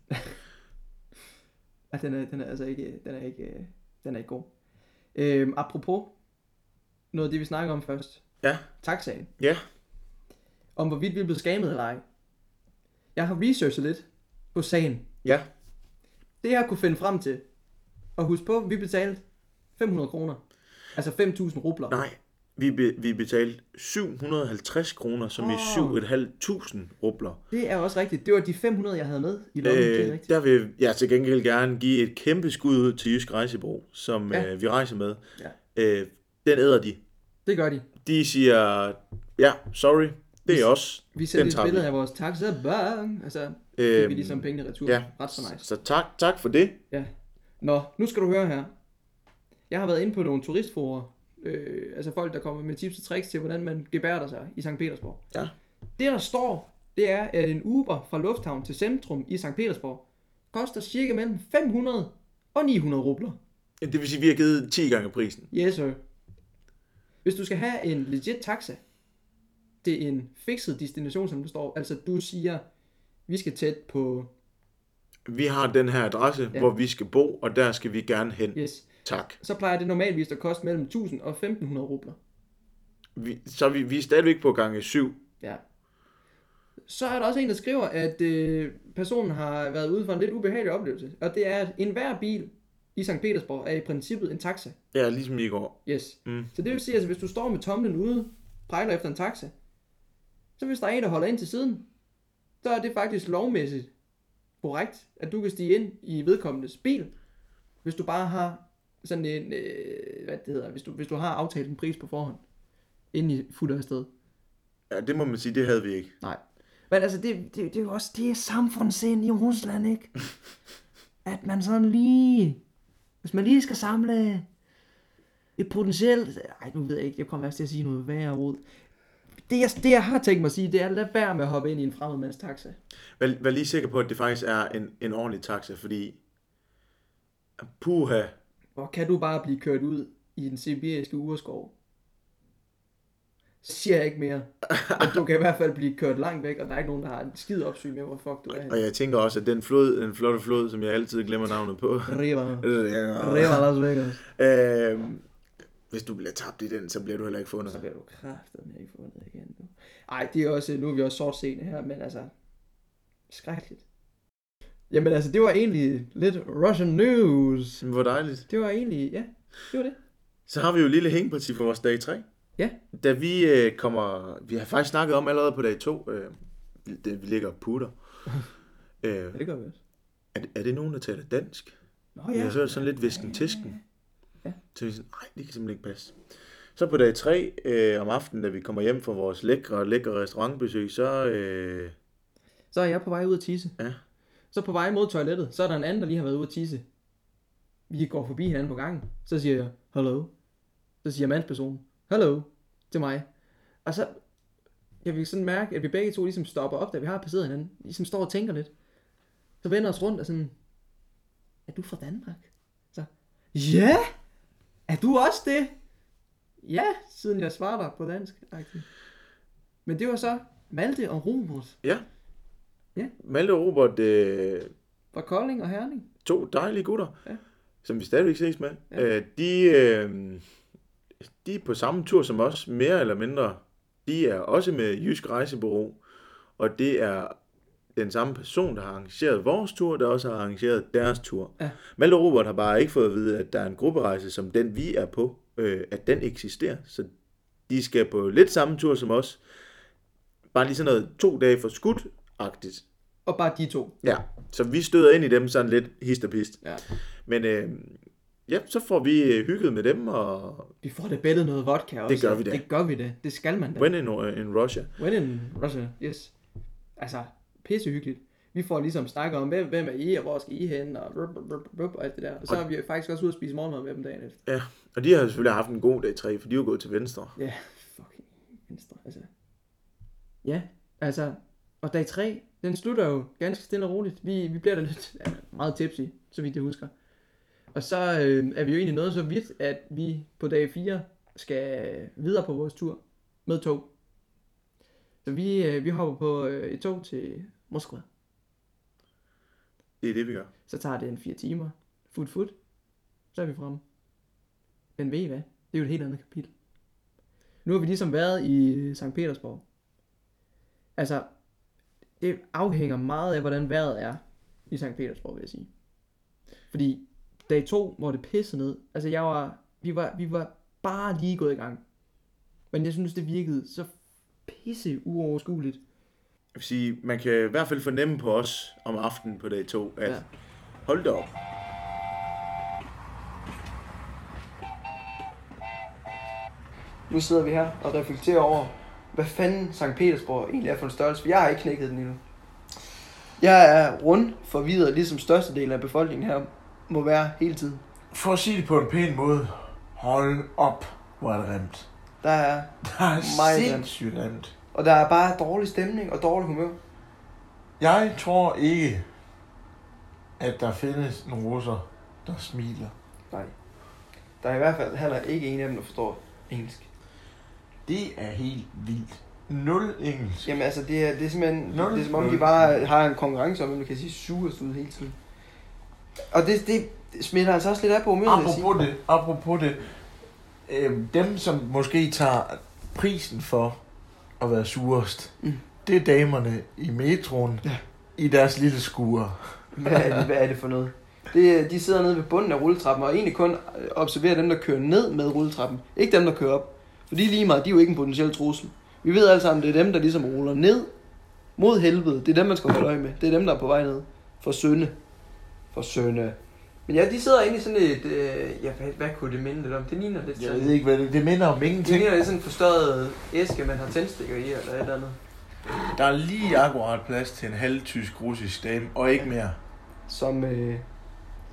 Ja, den er, den er altså ikke, den er ikke, øh, den er ikke god. Øhm, apropos noget af det, vi snakker om først.
Ja.
Taxaen.
Ja.
Om hvorvidt vi er blevet skammet eller ej. Jeg har researchet lidt på sagen.
Ja.
Det jeg kunne finde frem til, og husk på, vi betalte 500 kroner. Altså 5.000 rubler.
Nej, vi, be, vi betalte 750 kroner, som oh. i 7.500 rubler.
Det er også rigtigt. Det var de 500, jeg havde med i lommen. det er
Øh,
rigtigt.
der vil jeg til gengæld gerne give et kæmpe skud ud til Jysk Rejsebro, som
Ja.
ja. øh, vi rejser med.
Ja.
Øh, den æder de.
Det gør de.
De siger, ja, sorry, det er os.
Vi sendte
Den
et
tager vi.
billede af vores taxa. Bang! Og så fik
Øhm,
vi ligesom pengene retur.
ja.
Ret så nice.
Så tak, tak for det.
Ja. Nå, nu skal du høre her. Jeg har været inde på nogle turistforer. Øh, altså folk, der kommer med tips og tricks til, hvordan man gebærder sig i St. Petersborg.
Ja.
Det, der står, det er, at en Uber fra Lufthavn til centrum i St. Petersborg koster cirka mellem 500 og 900 rubler.
Det vil sige, at vi har givet 10 gange prisen.
Yes, sir. Hvis du skal have en legit taxa, det er en fikset destination, som der står. Altså, du siger, vi skal tæt på...
Vi har den her adresse,
Ja.
ja. hvor vi skal bo, og der skal vi gerne hen. Ja.
Yes.
Tak.
Så plejer det normalvis at koste mellem 1000 og 1500 rubler.
Vi, så er vi, vi er stadigvæk på gange 7.
Ja. Så er der også en, der skriver, at øh, personen har været ude for en lidt ubehagelig oplevelse. Og det er, at enhver bil i St. Petersborg er i princippet en taxa.
Ja, ligesom i går.
Yes.
Mm.
Så det vil sige, at altså, hvis du står med tomlen ude, pejler efter en taxa, så hvis der er en, der holder ind til siden, så er det faktisk lovmæssigt korrekt, at du kan stige ind i vedkommendes bil, hvis du bare har sådan en, øh, hvad det hedder, hvis du, hvis du har aftalt en pris på forhånd, inden I futter afsted.
Ja, det må man sige, det havde vi ikke.
Nej. Men altså, det, det, det er jo også det er samfundssind i Rusland, ikke? At man sådan lige... Hvis man lige skal samle et potentielt... Ej, nu ved jeg ikke, jeg kommer også til at sige noget værre rod. Det jeg, det, jeg har tænkt mig at sige, det er, lad være med at hoppe ind i en fremmed mands taxa.
Vær, vær lige sikker på, at det faktisk er en, en ordentlig taxa, fordi... Puha.
Hvor kan du bare blive kørt ud i den sibiriske urskov? Så siger jeg ikke mere. Men du kan i hvert fald blive kørt langt væk, og der er ikke nogen, der har en skid opsyn med, hvor fuck du er
Og
henne.
jeg tænker også, at den flod, den flotte flod, som jeg altid glemmer navnet på.
River.
Ja.
River Las Vegas.
Øhm, hvis du bliver tabt i den, så bliver du heller ikke fundet.
Så bliver du kraftet med ikke fundet igen. Nu. Ej, det er også, nu er vi også sort scene her, men altså, skrækkeligt. Jamen altså, det var egentlig lidt Russian news.
Hvor dejligt.
Det var egentlig, ja, det var det.
Så har vi jo et lille hængeparti for vores dag 3.
Ja.
Da vi øh, kommer... Vi har faktisk snakket om allerede på dag 2. Øh, det, vi ligger og putter. øh,
Ja, det gør vi også.
er, det- er det nogen, der taler dansk?
Nå
Oh, ja. Jeg har hørt sådan lidt visken-tisken. Ja. Så vi sådan, nej, det kan simpelthen ikke passe. Så på dag 3 øh, om aftenen, da vi kommer hjem fra vores lækre, lækre restaurantbesøg, så... Øh,
Så er jeg på vej ud at tisse.
Ja.
Så på vej mod toilettet, så er der en anden, der lige har været ude at tisse. Vi går forbi hinanden på gangen. Så siger jeg, hello. Så siger mandspersonen, hello, til mig. Og så, jeg vil sådan mærke, at vi begge to ligesom stopper op, da vi har passeret hinanden. Ligesom står og tænker lidt. Så vender os rundt og sådan, er du fra Danmark? Så, ja, er du også det? Ja, siden jeg svarer dig på dansk. agtigt. Men det var så Malte og Robert
ja.
Ja.
Malte og Robert, øh,
fra Kolding og Herning.
to dejlige gutter,
Ja.
ja. som vi stadigvæk ses med. Ja. Øh, de, øh, de er på samme tur som os, mere eller mindre. De er også med Jysk Rejsebureau, og det er den samme person, der har arrangeret vores tur, der også har arrangeret deres tur.
Ja.
Malte og Robert har bare ikke fået at vide, at der er en grupperejse, som den vi er på, øh, at den eksisterer. Så de skal på lidt samme tur som os. Bare lige sådan noget to dage for skudt-agtigt.
Og bare de to.
Ja, så vi støder ind i dem sådan lidt hist og pist.
Ja.
Men øh, ja, så får vi øh, hygget med dem, og
Vi får da bæltet noget vodka også.
Det gør vi da.
Det gør vi da. Det skal man da.
when in, øh, in Russia.
When in Russia, yes. Altså, pissehyggeligt. Vi får ligesom snakket om, hvem, hvem er I, og hvor skal I hen, og, brup, brup, brup, brup, og alt det der. Og så er vi jo faktisk også ude at spise morgenmad med dem dagen efter.
Ja, og de har selvfølgelig haft en god dag 3, for de er jo gået til venstre.
Ja, fucking venstre, altså. Ja, altså, og dag 3, den slutter jo ganske stille og roligt. Vi, vi bliver da lidt ja, meget tipsy, så vidt jeg husker. Og så øh, er vi jo egentlig nået så vidt, at vi på dag 4 skal videre på vores tur med tog. Så vi, øh, vi hopper på øh, et tog til Moskva.
Det er det, vi gør.
Så tager det en 4 timer. Fut, fut. Så er vi fremme. Men ved I hvad? Det er jo et helt andet kapitel. Nu har vi ligesom været i øh, St. Petersborg. Altså, det afhænger meget af, hvordan vejret er i St. Petersborg, vil jeg sige. Fordi dag to, hvor det pissede ned, altså jeg var, vi var, vi var bare lige gået i gang. Men jeg synes, det virkede så pisse uoverskueligt.
Jeg vil sige, man kan i hvert fald fornemme på os om aftenen på dag 2, at
Ja.
ja. hold da op.
Nu sidder vi her og reflekterer over, hvad fanden St. Petersborg egentlig er for en størrelse, for jeg har ikke knækket den endnu. Jeg er rund, forvirret, ligesom størstedelen af befolkningen her må være hele tiden.
For at sige det på en pæn måde. Hold op, hvor er det remt.
Der er,
Der er
Meget grimt.
sindssygt remt.
og der er bare dårlig stemning og dårlig humør.
Jeg tror ikke, at der findes en russer, der smiler.
Nej. Der er i hvert fald heller ikke en af dem, der forstår engelsk.
Det er helt vildt. Nul engelsk.
Jamen altså, det er, det er simpelthen,
Nul.
det er som om de bare har en konkurrence om, hvem der kan sige surest ud hele tiden. Og det, det smitter altså også lidt af på humøret, vil jeg sige.
Apropos det, apropos det. Øh, dem, som måske tager prisen for at være surest, mm. det er damerne i metroen ja. i deres lille skure.
Hvad er det, hvad er det for noget? Det, er- de sidder nede ved bunden af rulletrappen, og egentlig kun øh, observerer dem, der kører ned med rulletrappen. Ikke dem, der kører op. For de er lige meget, de er jo ikke en potentiel trussel. Vi ved alle sammen, det er dem, der ligesom ruller ned mod helvede. Det er dem, man skal holde øje med. Det er dem, der er på vej ned. For sønde. For sønde. Men ja, de sidder inde i sådan et... Øh, ja, hvad, hvad kunne det minde lidt om? Det ligner lidt
Jeg
sådan...
ved ikke, hvad det, det minder om
Det
ingenting.
ligner lidt sådan en forstørret æske, man har tændstikker i, eller et eller andet.
Der er lige akkurat plads til en halvtysk russisk dame, og ikke mere.
Som, øh,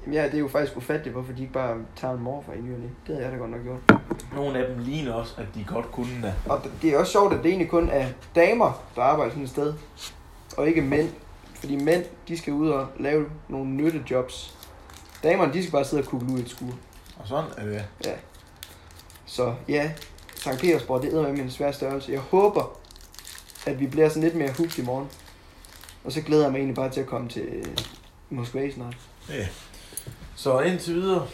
jamen ja, det er jo faktisk ufatteligt, hvorfor de ikke bare tager en morfar i nyerne. Det havde jeg da godt nok gjort.
Nogle af dem ligner også, at de godt kunne da.
Og d- det er også sjovt, at det egentlig kun er damer, der arbejder sådan et sted. Og ikke mænd. Fordi mænd, de skal ud og lave nogle nyttejobs. Damerne, de skal bare sidde og kugle ud i et skur.
Og sådan er det.
Så ja, Sankt Petersborg, det er med en svær størrelse. Jeg håber, at vi bliver sådan lidt mere hooked i morgen. Og så glæder jeg mig egentlig bare til at komme til øh, Moskva snart.
Så indtil videre,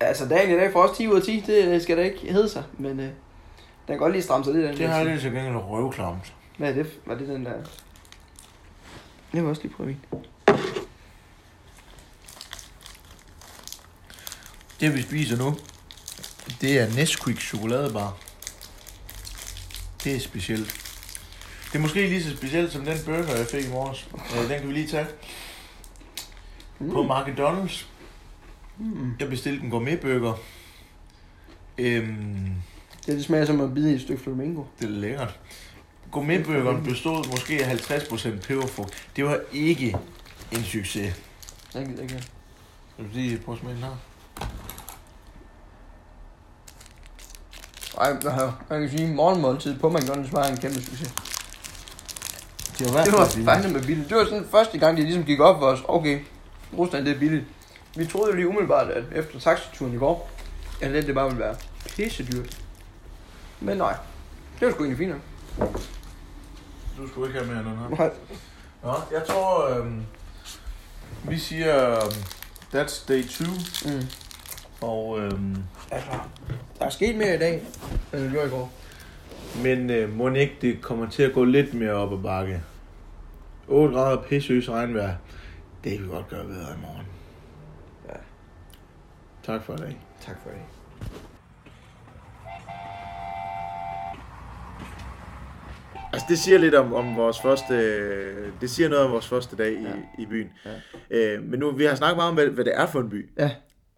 Altså dagen i dag får også 10 ud af 10, det øh, skal da ikke hedde sig, men øh, den kan godt lige stramme sig lidt. Den
det har
der.
jeg til gengæld røvklamt.
Hvad er det? Var det den der? Jeg vil også lige prøve min.
Det vi spiser nu, det er Nesquik chokoladebar. Det er specielt.
Det er måske lige så specielt som den burger, jeg fik i morges. Øh, Den kan vi lige tage. På McDonald's. Hmm.
Jeg bestilte en gourmetburger. Øhm,
Det, det smager som at bide i et stykke flamingo.
det er lækkert.
Mm.
Gourmetburgeren bestod måske af 50% peberfrugt. Det var ikke en succes.
Jeg gider ikke.
Vil du lige prøve at smage den her?
Ej, man kan sige, morgenmåltid på McDonald's var en kæmpe succes.
Det var,
Det var fandme med billigt. Det var sådan første gang, det ligesom gik op for os. Okay, Rusland det er billigt. Vi troede jo lige umiddelbart, at efter taxaturen i går, at det, det bare ville være pisse dyrt. Men nej, det var sgu egentlig fint. nok.
Du skulle ikke have mere end den her.
Nej,
Nå, jeg tror,
øhm,
øh, vi siger, øh, that's day 2.
Mm.
Og, øh,
øhm,
Altså, der er sket mere i dag, end der gjorde i går.
Men øh, må ikke det kommer til at gå lidt mere op ad bakke. 8 grader pisseøs regnvejr. Det kan vi godt gøre bedre i morgen.
Ja.
Tak for i dag.
Tak for det.
Altså, det siger lidt om, om vores første... øh, Det siger noget om vores første dag i, ja. i byen. Ja. Øh, men nu, vi har snakket meget om, hvad, hvad det er for en by.
Ja.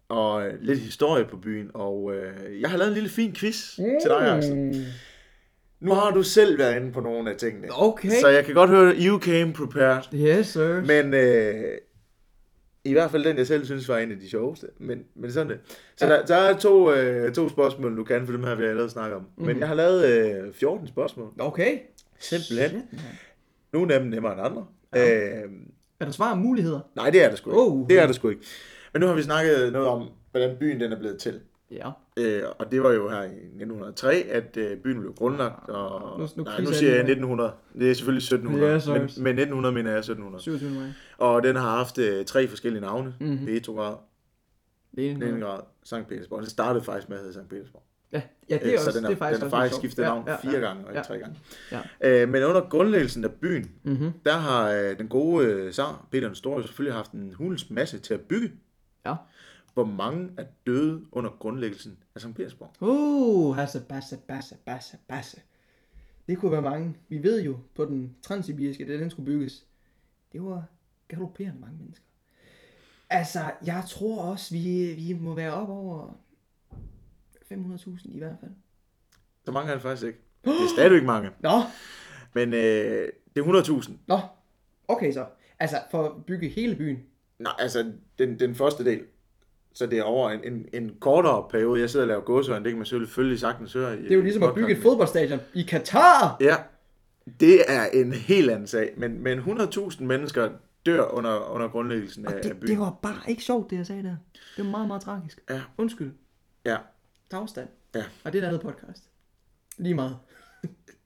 Og øh, lidt historie på byen. Og øh, jeg har lavet en lille fin quiz mm. til dig, Axel. Nu har du selv været inde på nogle af tingene.
Okay.
Så jeg kan godt høre, you came prepared.
Yes, sir.
Men øh, i hvert fald den, jeg selv synes var en af de sjoveste. Men, men sådan det. Så der, der er to, øh, to spørgsmål, du kan, for dem her vi har allerede snakket om. Mm-hmm. Men jeg har lavet øh, 14 spørgsmål.
Okay.
Simpelthen. Nogle af dem nemmere end andre. Ja. Øh,
Er der svar og muligheder?
nej, det er det sgu ikke.
Oh.
Det er det sgu ikke. Men nu har vi snakket noget om, hvordan byen den er blevet til.
Ja.
Øh, og det var jo her i 1903, at øh, byen blev grundlagt. Og,
Nu- nu
nej, nu
quizzer jeg
siger jeg
lige. 1900.
1900. Det er selvfølgelig 1700.
Ja, så-
men, men 1900 mener jeg 1700.
27. maj.
Og den har haft øh, tre forskellige navne.
Mhm.
Mm-hmm. Petrograd,
Det er en-
Leningrad, Sankt Petersborg. Den startede faktisk med at hedde Sankt Petersborg.
Ja, ja det
Øh,
er også,
så den
det er faktisk
den har
også
faktisk
lidt
skiftet
sjovt.
navn ja, fire gange, og ikke
ja.
tre gange.
Ja. Mhm.
Øh, men under grundlæggelsen af byen, mm-hmm. der har øh, den gode øh, zar, Peter den Store, selvfølgelig haft en hulens masse til at bygge.
Ja.
Hvor mange er døde under grundlæggelsen af Sankt Petersborg?
Uh, altså basse, basse, basse, basse. Det kunne være mange. Vi ved jo på den transsibiriske, da den skulle bygges, det var galopperende mange mennesker. Altså, jeg tror også, vi, vi må være op over 500.000 i hvert fald.
Så mange er det faktisk ikke. Det er stadigvæk mange.
Nå,
Men øh, det er 100.000.
nå. Okay så. Altså, for at bygge hele byen.
Nej, altså den, den første del. Så det er over en, en, en kortere periode. Jeg sidder og laver gåsøjne, det kan man selvfølgelig sagtens høre.
Det er jo ligesom at bygge et fodboldstadion i Katar.
Ja, det er en helt anden sag. Men, men 100.000 mennesker dør under, under grundlæggelsen af, af
Det,
byen.
det var bare ikke sjovt, det jeg sagde der. Det var meget, meget tragisk.
Ja.
Undskyld.
Ja,
Tag afstand.
Ja.
Og det er et andet podcast. Lige meget.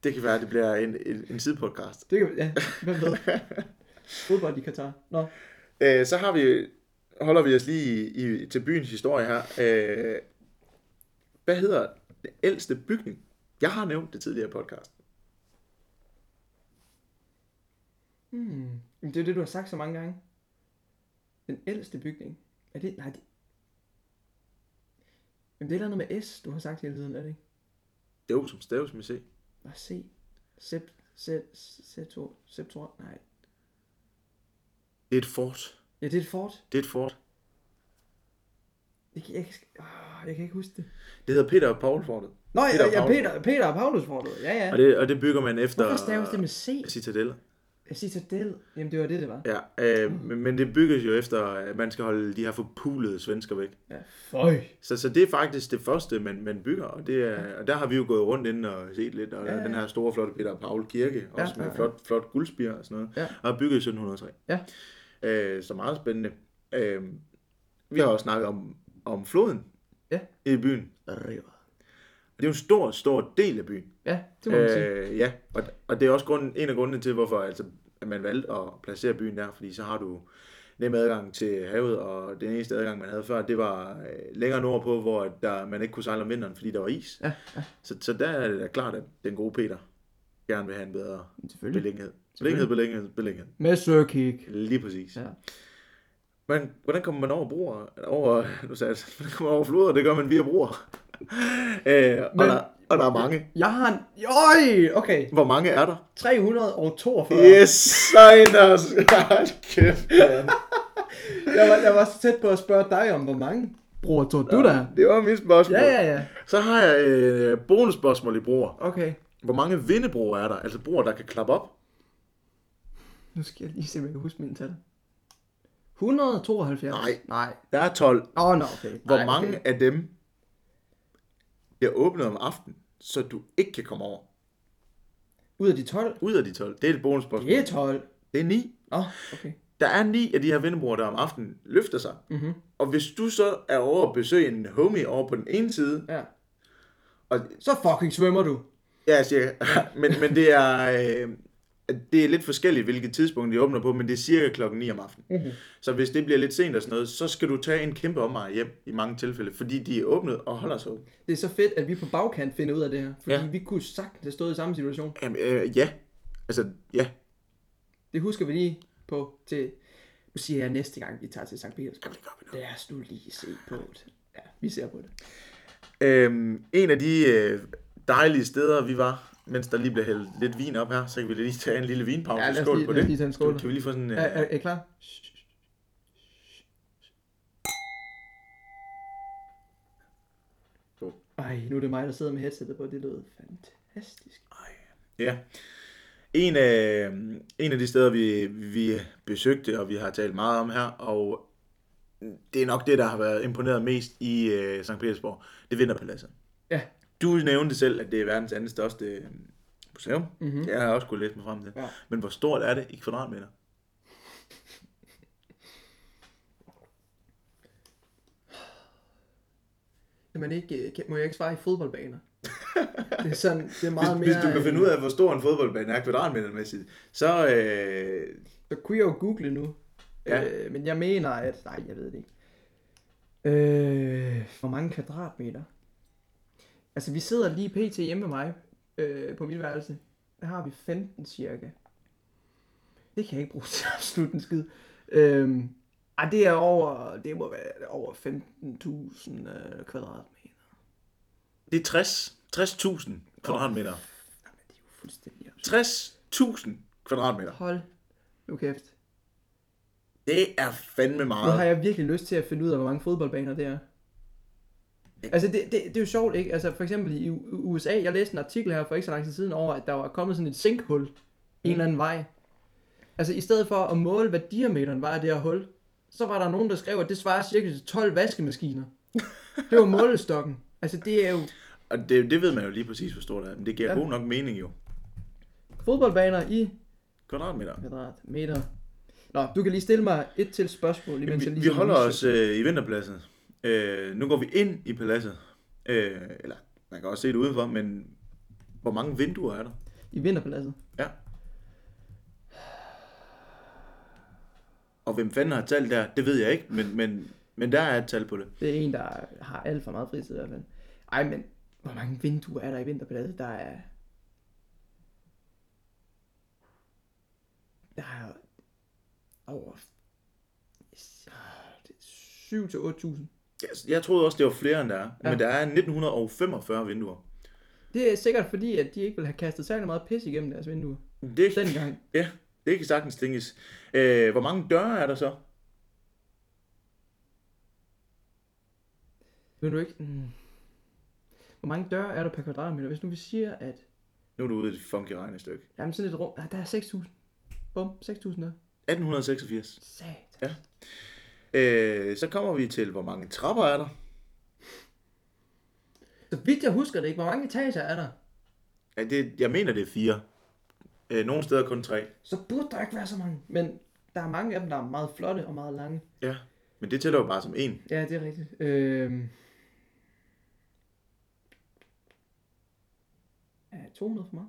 det kan være, det bliver en, en, en sidepodcast.
Det kan, ja, hvem ved. Fodbold i Katar. Nå.
Øh, så har vi, holder vi os lige i, i, til byens historie her. Øh, hvad hedder den ældste bygning? Jeg har nævnt det tidligere i podcasten.
Hmm. Men det er jo det, du har sagt så mange gange. Den ældste bygning. Er det... Nej, det... Jamen, det er et eller andet med S, du har sagt hele tiden, er det ikke?
Jo, som staves med C.
Bare se. Sept... Sept... Septor... Septor... Nej.
Det er et fort.
Ja, det er et fort.
Det er et fort.
Jeg kan, jeg, kan- åh, jeg kan ikke huske det.
Det hedder Peter og Paul fortet.
Nå,
Peter
Peter
og
ja, ja,
Paulus.
Peter, Peter og Paulus fortet. Ja, ja.
Og det, og det bygger man efter...
Hvorfor staves det med C?
Citadeller.
Jeg siger Citadel. Jamen, det var det, det var.
Ja, øh, men, men det bygges jo efter, at man skal holde de her forpulede svensker væk.
Føj.
Så, så det er faktisk det første, man, man bygger, og, det er, og der har vi jo gået rundt inden og set lidt, og ja,
Ja, ja.
den her store, flotte Peter Paul Kirke,
Ja,
også med
ja, ja.
flot, flot guldspir og sådan noget,
Ja.
og er bygget i 1703.
Ja.
Øh, så meget spændende. Øh, vi har også snakket om, om floden
Ja.
i byen.
River.
Og Det er jo en stor, stor del af byen.
Ja, det må man sige.
Øh, ja, og, og det er også grunden, en af grundene til, hvorfor altså, at man valgte at placere byen der, fordi så har du nem adgang til havet, og den eneste adgang, man havde før, det var øh, længere nordpå, hvor at der, man ikke kunne sejle om vinteren, fordi der var is.
Ja,
ja. Så, så der er det da klart, at den gode Peter gerne vil have en bedre
Selvfølgelig.
beliggenhed. Beliggenhed, beliggenhed, beliggenhed.
Med Sørkik.
Lige præcis.
Ja.
Men hvordan kommer man over broer? Over, nu sagde jeg, altså, hvordan kommer man over floder? Det gør man via broer. øh, og,
Men-
der, og der er mange.
Jeg har en... Øj! Okay.
Hvor mange er der?
342.
Yes, Seiners. Hold kæft.
Jeg, var, jeg var så tæt på at spørge dig om, hvor mange bruger tror du der? er?
Det var mit spørgsmål.
Ja, ja, ja.
Så har jeg et øh, bonusspørgsmål i broer.
Okay.
Hvor mange vindebroer er der? Altså broer, der kan klappe op.
Nu skal jeg lige se, om jeg kan huske mine tal. 172?
Nej.
Nej.
Der er 12.
Åh, oh, no, okay.
Hvor
Nej,
mange
Okay.
af dem bliver åbnet om aftenen, så du ikke kan komme over?
Ud af de 12?
Ud af de 12. Det er et bonusspørgsmål.
Det er 12.
Det er 9.
Nå, okay.
Der er 9 af de her vindebroer, der om aftenen løfter sig. Mm-hmm. Og hvis du så er over at besøge en homie over på den ene side,
Ja.
og
Så fucking svømmer du.
Ja, cirka. Men, men det er... Øh, det er lidt forskelligt, hvilket tidspunkt de åbner på, men det er cirka klokken 9 om aftenen. Mm-hmm.
Mhm.
Så hvis det bliver lidt sent og sådan noget, så skal du tage en kæmpe omvej hjem i mange tilfælde, fordi de er åbnet og holder sig åbne.
Det er så fedt, at vi på bagkant finder ud af det her. Fordi
Ja.
ja. vi kunne sagtens have stået i samme situation.
Jamen, øh, ja. Altså, ja.
Det husker vi lige på til... Nu siger jeg næste gang, vi tager til St. Petersburg.
Jamen, det gør vi nu.
Lad os nu lige se på det. Ja, vi ser på det.
Øhm, en af de øh, dejlige steder, vi var, mens der lige blev hældt lidt vin op her, så kan vi lige tage en lille vinpause.
Ja, lad os
skål
lige-
på
lad os
det.
lige tage en skål.
Kan, kan vi lige få sådan... Øh,
Er, er, er I klar?
Skål.
Ej, nu er det mig, der sidder med headsetet på. Det lød fantastisk.
Ja. En af, en af de steder, vi, vi besøgte, og vi har talt meget om her, og det er nok det, der har været imponeret mest i øh, St. Petersborg, det er Vinterpaladset.
Ja.
Du nævnte selv, at det er verdens andet største øh, museum. Mm-hmm. Jeg har også kunnet læse mig frem til.
Mhm. Ja.
Men hvor stort er det i kvadratmeter?
Jamen ikke, øh, kan- må jeg ikke svare i fodboldbaner? det er sådan, det er
Hvis,
meget
hvis
mere...
du kan
øh,
finde ud af, hvor stor en fodboldbane er kvadratmetermæssigt, så... Øh,
Så kunne jeg jo google nu.
Ja.
Ja. Øh, men jeg mener, at... Nej, jeg ved det ikke. Øh, hvor mange kvadratmeter? Altså, vi sidder lige pt. hjemme med mig øh, på mit værelse. Der har vi 15 cirka. Det kan jeg ikke bruge til absolut en skid. Øh, ej, det er over, det må være over 15.000 øh, kvadratmeter.
det er 60. 60.000 kvadratmeter.
Jamen, det er jo fuldstændig absurd.
60.000 kvadratmeter.
Hold nu kæft.
Det er fandme
Nu
meget.
har jeg virkelig lyst til at finde ud af, hvor mange fodboldbaner det er. Altså, det, det, det er jo sjovt, ikke? Altså, for eksempel i U- USA, jeg læste en artikel her for ikke så lang tid siden over, at der var kommet sådan et sinkhul
Mm.
en eller anden vej. Altså, i stedet for at måle, hvad diameteren var af det her hul, så var der nogen, der skrev, at det svarer cirka til 12 vaskemaskiner. Det var målestokken. Altså, det er jo
Og det, det ved man jo lige præcis, hvor stort det er. Men det giver ja.
Ja.
god nok mening jo.
fodboldbaner i
Kvadratmeter.
kvadratmeter. Nå, du kan lige stille mig et til spørgsmål, imens jeg
Vi,
lige...
vi holder os øh, i vinterpladsen. Øh, nu går vi ind i paladset. Øh, eller, man kan også se det udenfor, men hvor mange vinduer er der?
I vinterpaladset.
Ja. Og hvem fanden har talt der? Det ved jeg ikke, men, men, men der er et tal på det.
Det er en, der har alt for meget fritid i hvert fald. Ej, men hvor mange vinduer er der i vinterpaladset? Der er... der er over 7-8.000.
Jeg, jeg troede også, det var flere, end der er.
Ja.
Ja. Men der er 1945 vinduer.
Det er sikkert fordi, at de ikke vil have kastet særlig meget pis igennem deres vinduer
Det,
dengang.
Ja, det kan sagtens tænkes. Øh, hvor mange døre er der så?
Vil du ikke... Mm. Hvor mange døre er der per kvadratmeter? Hvis nu vi siger, at...
Nu er du ude i et funky regnestykke.
Jamen sådan et rum... Ah, der er 6.000. Bum, 6.000 der.
1886.
Sat.
Ja. Øh, så kommer vi til, hvor mange trapper er der?
Så vidt jeg husker det ikke, hvor mange etager er der?
Ja, det, jeg mener, det er fire. Øh, nogle steder kun tre.
Så burde der ikke være så mange. Men der er mange af dem, der er meget flotte og meget lange.
Ja. Men det tæller jo bare som en.
Ja, det er rigtigt. Øhm... Ja, 200 for meget.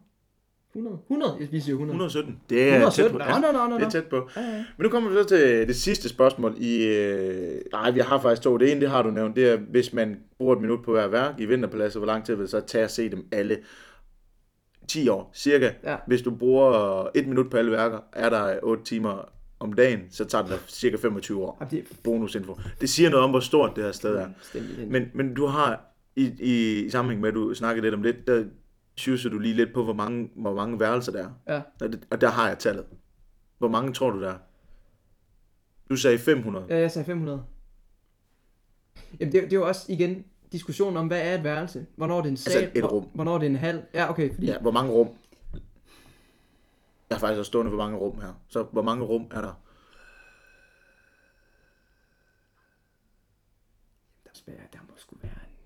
100? 100? Vi siger 100.
117. Det er
117.
tæt på.
Nå, nå, nå, nå,
Det
nå.
er tæt på.
Ja, ja.
Men nu kommer vi så til det sidste spørgsmål i... Øh... Nej, vi har faktisk to. Det ene, det har du nævnt, det er, hvis man bruger et minut på hver værk i Vinterpaladset, hvor lang tid vil det så tage at se dem alle? 10 år, cirka.
Ja.
Hvis du bruger et minut på alle værker, er der 8 timer om dagen, så tager det dig cirka 25 år.
Jamen, det er
Bonusinfo. Det siger noget om, hvor stort det her sted er.
fuldstændig den.
Men, men du har i, i, i sammenhæng med, at du snakkede lidt om lidt, der syvser du lige lidt på, hvor mange, hvor mange værelser der er.
Ja.
Og, det, og der har jeg tallet. Hvor mange tror du, der er? Du sagde 500. Ja.
Ja, jeg sagde 500. Jamen, det, er- det er jo også igen diskussionen om, hvad er et værelse? Hvornår er det en sal?
Altså et
Hvor-
rum.
Hvornår er det en hal? Ja, okay, fordi...
ja. Hvor mange rum? Jeg er faktisk også stående, hvor mange rum her. Så hvor mange rum er der?
Der, skal være, der må sgu være en...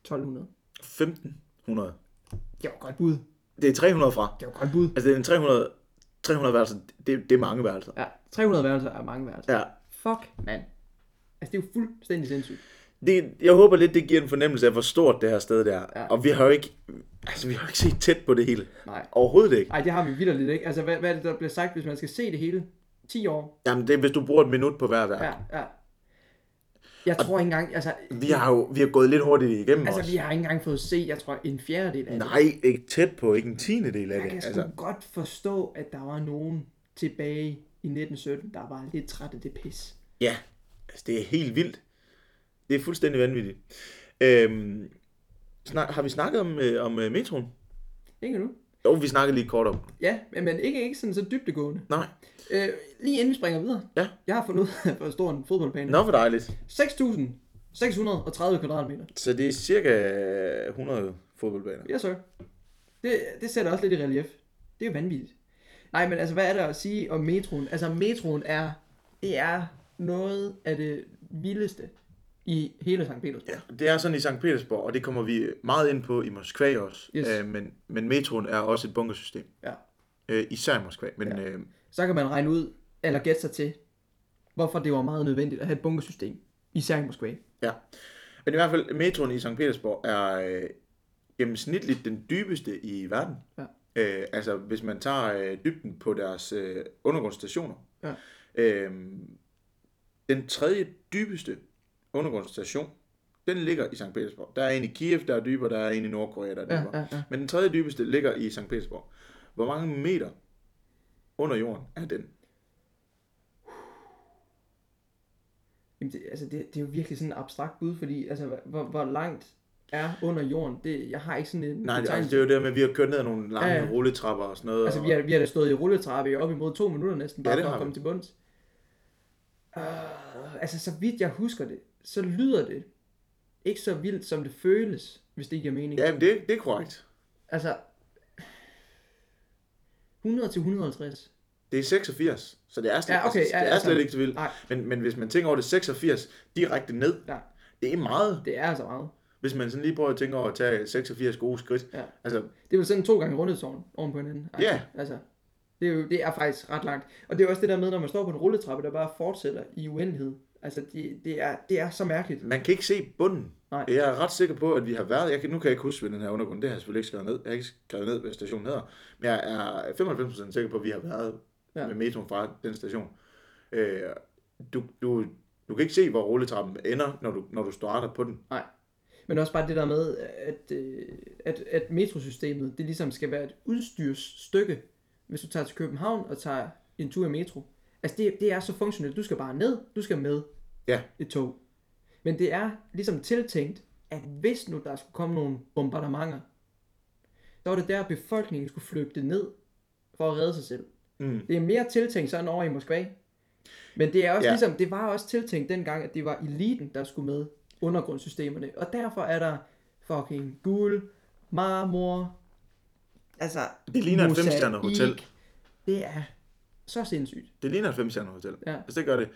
1200.
1500.
Det var et godt bud.
Det er 300 fra.
Det var et godt bud.
Altså, det er en 300, 300 værelser. Det, det er mange værelser.
Ja, 300 værelser er mange værelser.
Ja.
Fuck, mand. Altså, det er jo fuldstændig sindssygt.
Det, jeg håber lidt, det giver en fornemmelse af, hvor stort det her sted der er.
Ja.
Ja. Og vi har jo ikke, altså, vi har jo ikke set tæt på det hele.
Nej.
Overhovedet ikke.
Nej, det har vi vildt lidt, ikke? Altså, hvad, hvad er det, der bliver sagt, hvis man skal se det hele? 10 år?
Jamen, det er, hvis du bruger et minut på hver værk.
Ja, ja. Jeg tror ikke engang, altså...
Vi har jo vi har gået lidt hurtigt igennem
Altså,
også.
vi har ikke engang fået se, jeg tror, en fjerdedel af det.
Nej, ikke tæt på, ikke en tiende del af
Jeg
det.
kan sgu
Altså,
altså... godt forstå, at der var nogen tilbage i 1917, der var lidt træt af det pis.
ja, altså, det er helt vildt. Det er fuldstændig vanvittigt. Øhm, snak, har vi snakket om, øh, om øh, metroen?
Ikke nu?
Jo, vi snakkede lige kort om.
Ja, men- men ikke, ikke sådan så dybtegående.
Nej.
Øh, lige inden vi springer videre.
Ja.
Jeg har fundet ud af, hvor stor en fodboldbane er.
Nå, hvor dejligt.
6.630 kvadratmeter.
Så det er cirka 100 fodboldbaner.
Ja, så. Det, det sætter også lidt i relief. Det er jo vanvittigt. Nej, men altså, hvad er der at sige om metroen? Altså, metroen er, det er noget af det vildeste i hele St. Petersburg.
Ja, det er sådan i St. Petersborg, og det kommer vi meget ind på i Moskva også.
Yes.
Øh, men, men metroen er også et bunkersystem.
Ja.
Øh, især i Moskva. Men ja. øh,
så kan man regne ud, eller gætte sig til, hvorfor det var meget nødvendigt at have et bunkersystem, især i Moskva.
Ja. Men i hvert fald, metroen i St. Petersborg er øh, gennemsnitligt den dybeste i verden.
Ja.
Øh, altså, hvis man tager øh, dybden på deres øh, undergrundsstationer.
Ja.
Øh, den tredje dybeste undergrundsstation, den ligger i St. Petersborg. Der er en i Kiev, der er dybere, der er en i Nordkorea, der er
Ja,
dybere.
ja, ja.
Men den tredje dybeste ligger i St. Petersborg. Hvor mange meter under jorden er den?
Jamen det, altså det, det er jo virkelig sådan et abstrakt bud, fordi altså, hvor- hvor, hvor langt er under jorden, det, jeg har ikke sådan en
Nej, altså, det
betegnelse.
er jo det med, at vi har kørt ned ad nogle lange
Ja,
ja,
ja.
rulletrapper og sådan noget.
Altså,
og-
vi har, vi har da stået i rulletrappe i op imod to minutter næsten, bare
Ja,
ja,
det
for at
har vi.
komme til bunds. Uh, altså, så vidt jeg husker det, så lyder det ikke så vildt, som det føles, hvis det giver mening.
Ja, men det, det er korrekt.
Altså, 100 til 150.
Det er 86, så det er slet,
Ja, okay,
altså,
ja,
det er
altså,
slet ikke så vildt.
nej.
Men, men hvis man tænker over det 86 direkte ned,
Ja,
det er meget.
det er altså meget.
Hvis man sådan lige prøver at tænke over at tage 86 gode skridt.
Ja.
Altså,
Det er jo sådan to gange rundetårn oven på hinanden. Altså,
Ja.
Altså, det er, jo, det er faktisk ret langt. Og det er også det der med, når man står på en rulletrappe, der bare fortsætter i uendelighed. Altså, det, det, er, det er så mærkeligt.
man kan ikke se bunden.
Nej.
Jeg er ret sikker på, at vi har været... Jeg kan, nu kan jeg ikke huske, hvad den her undergrund... Det har jeg selvfølgelig ikke skrevet ned. Jeg har ikke skrevet ned, hvad stationen hedder. Men jeg er 95% sikker på, at vi har været
Ja.
ja. med metroen fra den station. Øh, du, du, du kan ikke se, hvor rulletrappen ender, når du, når du starter på den.
Nej. Men også bare det der med, at, øh, at, at metrosystemet, det ligesom skal være et udstyrsstykke, hvis du tager til København og tager en tur i metro. Altså det, det er så funktionelt. Du skal bare ned, du skal med
Ja.
et tog. Men det er ligesom tiltænkt, at hvis nu der skulle komme nogle bombardementer, så var det der, befolkningen skulle flygte ned for at redde sig selv.
Mm.
Det er mere tiltænkt sådan over i Moskva. Men det er også ja.
Ja.
ligesom, det var også tiltænkt dengang, at det var eliten, der skulle med undergrundssystemerne. Og derfor er der fucking guld, marmor, altså...
Det ligner et
mosaik.
femstjernet hotel.
Det er så sindssygt.
Det ligner et femstjernet hotel.
Ja.
Altså, det gør det.